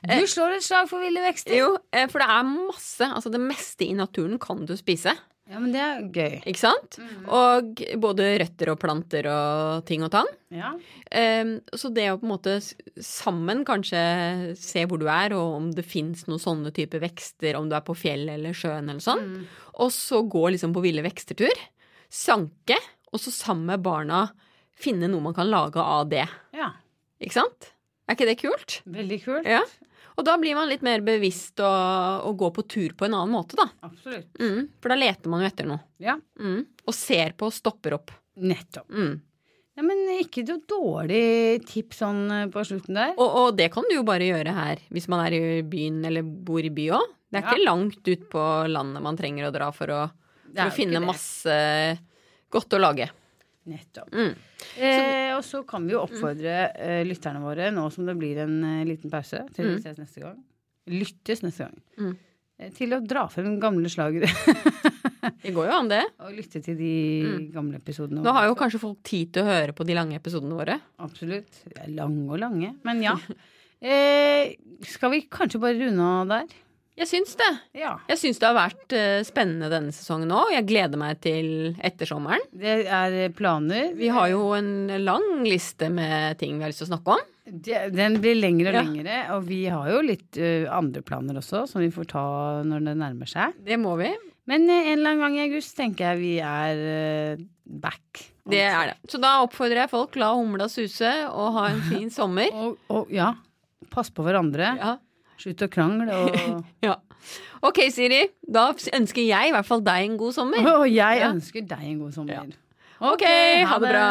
[SPEAKER 3] Du slår et slag for ville vekster.
[SPEAKER 2] Jo, eh, for det er masse, altså det meste i naturen kan du spise,
[SPEAKER 3] Ja, men det er gøy.
[SPEAKER 2] ikke sant? Og både røtter og planter og ting og tang.
[SPEAKER 3] Ja.
[SPEAKER 2] Ehm, Så det å på en måte s- sammen kanskje se hvor du er, og om det fins noen sånne type vekster, om du er på fjell eller sjøen eller
[SPEAKER 3] Mm.
[SPEAKER 2] sånn. Og så gå liksom på ville vekstertur. Sanke, og så sammen med barna finne noe man kan lage av det.
[SPEAKER 3] ja.
[SPEAKER 2] Ikke sant? Er ikke det kult?
[SPEAKER 3] Veldig kult.
[SPEAKER 2] Ja. Og da blir man litt mer bevisst og, og går på tur på en annen måte, da.
[SPEAKER 3] Absolutt.
[SPEAKER 2] Mm, for da leter man jo etter noe.
[SPEAKER 3] Ja.
[SPEAKER 2] Mm, og ser på og stopper opp.
[SPEAKER 3] Nettopp.
[SPEAKER 2] Mm.
[SPEAKER 3] Ja, men ikke noe dårlig tips sånn eh, på slutten der.
[SPEAKER 2] Og, og det kan du jo bare gjøre her, hvis man er i byen eller bor i by òg. Det er
[SPEAKER 3] Ja.
[SPEAKER 2] ikke langt ut på landet man trenger å dra for å,
[SPEAKER 3] Det er
[SPEAKER 2] for å
[SPEAKER 3] jo ikke
[SPEAKER 2] finne
[SPEAKER 3] det.
[SPEAKER 2] masse godt å lage.
[SPEAKER 3] Nettopp.
[SPEAKER 2] Mm.
[SPEAKER 3] Eh, og så kan vi jo oppfordre eh, lytterne våre, nå som det blir en eh, liten pause til vi
[SPEAKER 2] Mm.
[SPEAKER 3] ses neste gang, lyttes neste gang,
[SPEAKER 2] Mm.
[SPEAKER 3] eh, til å dra frem gamle slagere
[SPEAKER 2] Det går jo an, det.
[SPEAKER 3] [LAUGHS] og lytte til de gamle episodene.
[SPEAKER 2] Mm. Nå har jo kanskje folk tid til å høre på de lange episodene våre.
[SPEAKER 3] Absolutt. De er lange og lange, men
[SPEAKER 2] [LAUGHS]
[SPEAKER 3] ja. Eh, skal vi kanskje bare runde av der?
[SPEAKER 2] Jeg syns det.
[SPEAKER 3] Ja.
[SPEAKER 2] Jeg syns det har vært eh, spennende denne sesongen òg. Jeg gleder meg til ettersommeren.
[SPEAKER 3] Det er eh, planer.
[SPEAKER 2] Vi har jo en lang liste med ting vi har lyst til å snakke om.
[SPEAKER 3] Det- Den blir lengre og
[SPEAKER 2] Ja.
[SPEAKER 3] lengre, og vi har jo litt eh, andre planer også, som vi får ta når det nærmer seg.
[SPEAKER 2] Det må vi.
[SPEAKER 3] Men eh, en eller annen gang i august tenker jeg vi er eh, back.
[SPEAKER 2] Det er det. Så da oppfordrer jeg folk la humla suse og ha en fin
[SPEAKER 3] [LAUGHS]
[SPEAKER 2] sommer.
[SPEAKER 3] Og, og ja, pass på hverandre.
[SPEAKER 2] Ja.
[SPEAKER 3] Slutt å krangle
[SPEAKER 2] [LAUGHS]
[SPEAKER 3] og
[SPEAKER 2] Ja. Ok, Siri. Da ønsker jeg i hvert fall deg en god sommer.
[SPEAKER 3] Og jeg
[SPEAKER 2] Ja.
[SPEAKER 3] ønsker deg en god sommer.
[SPEAKER 2] Ok, ha det bra.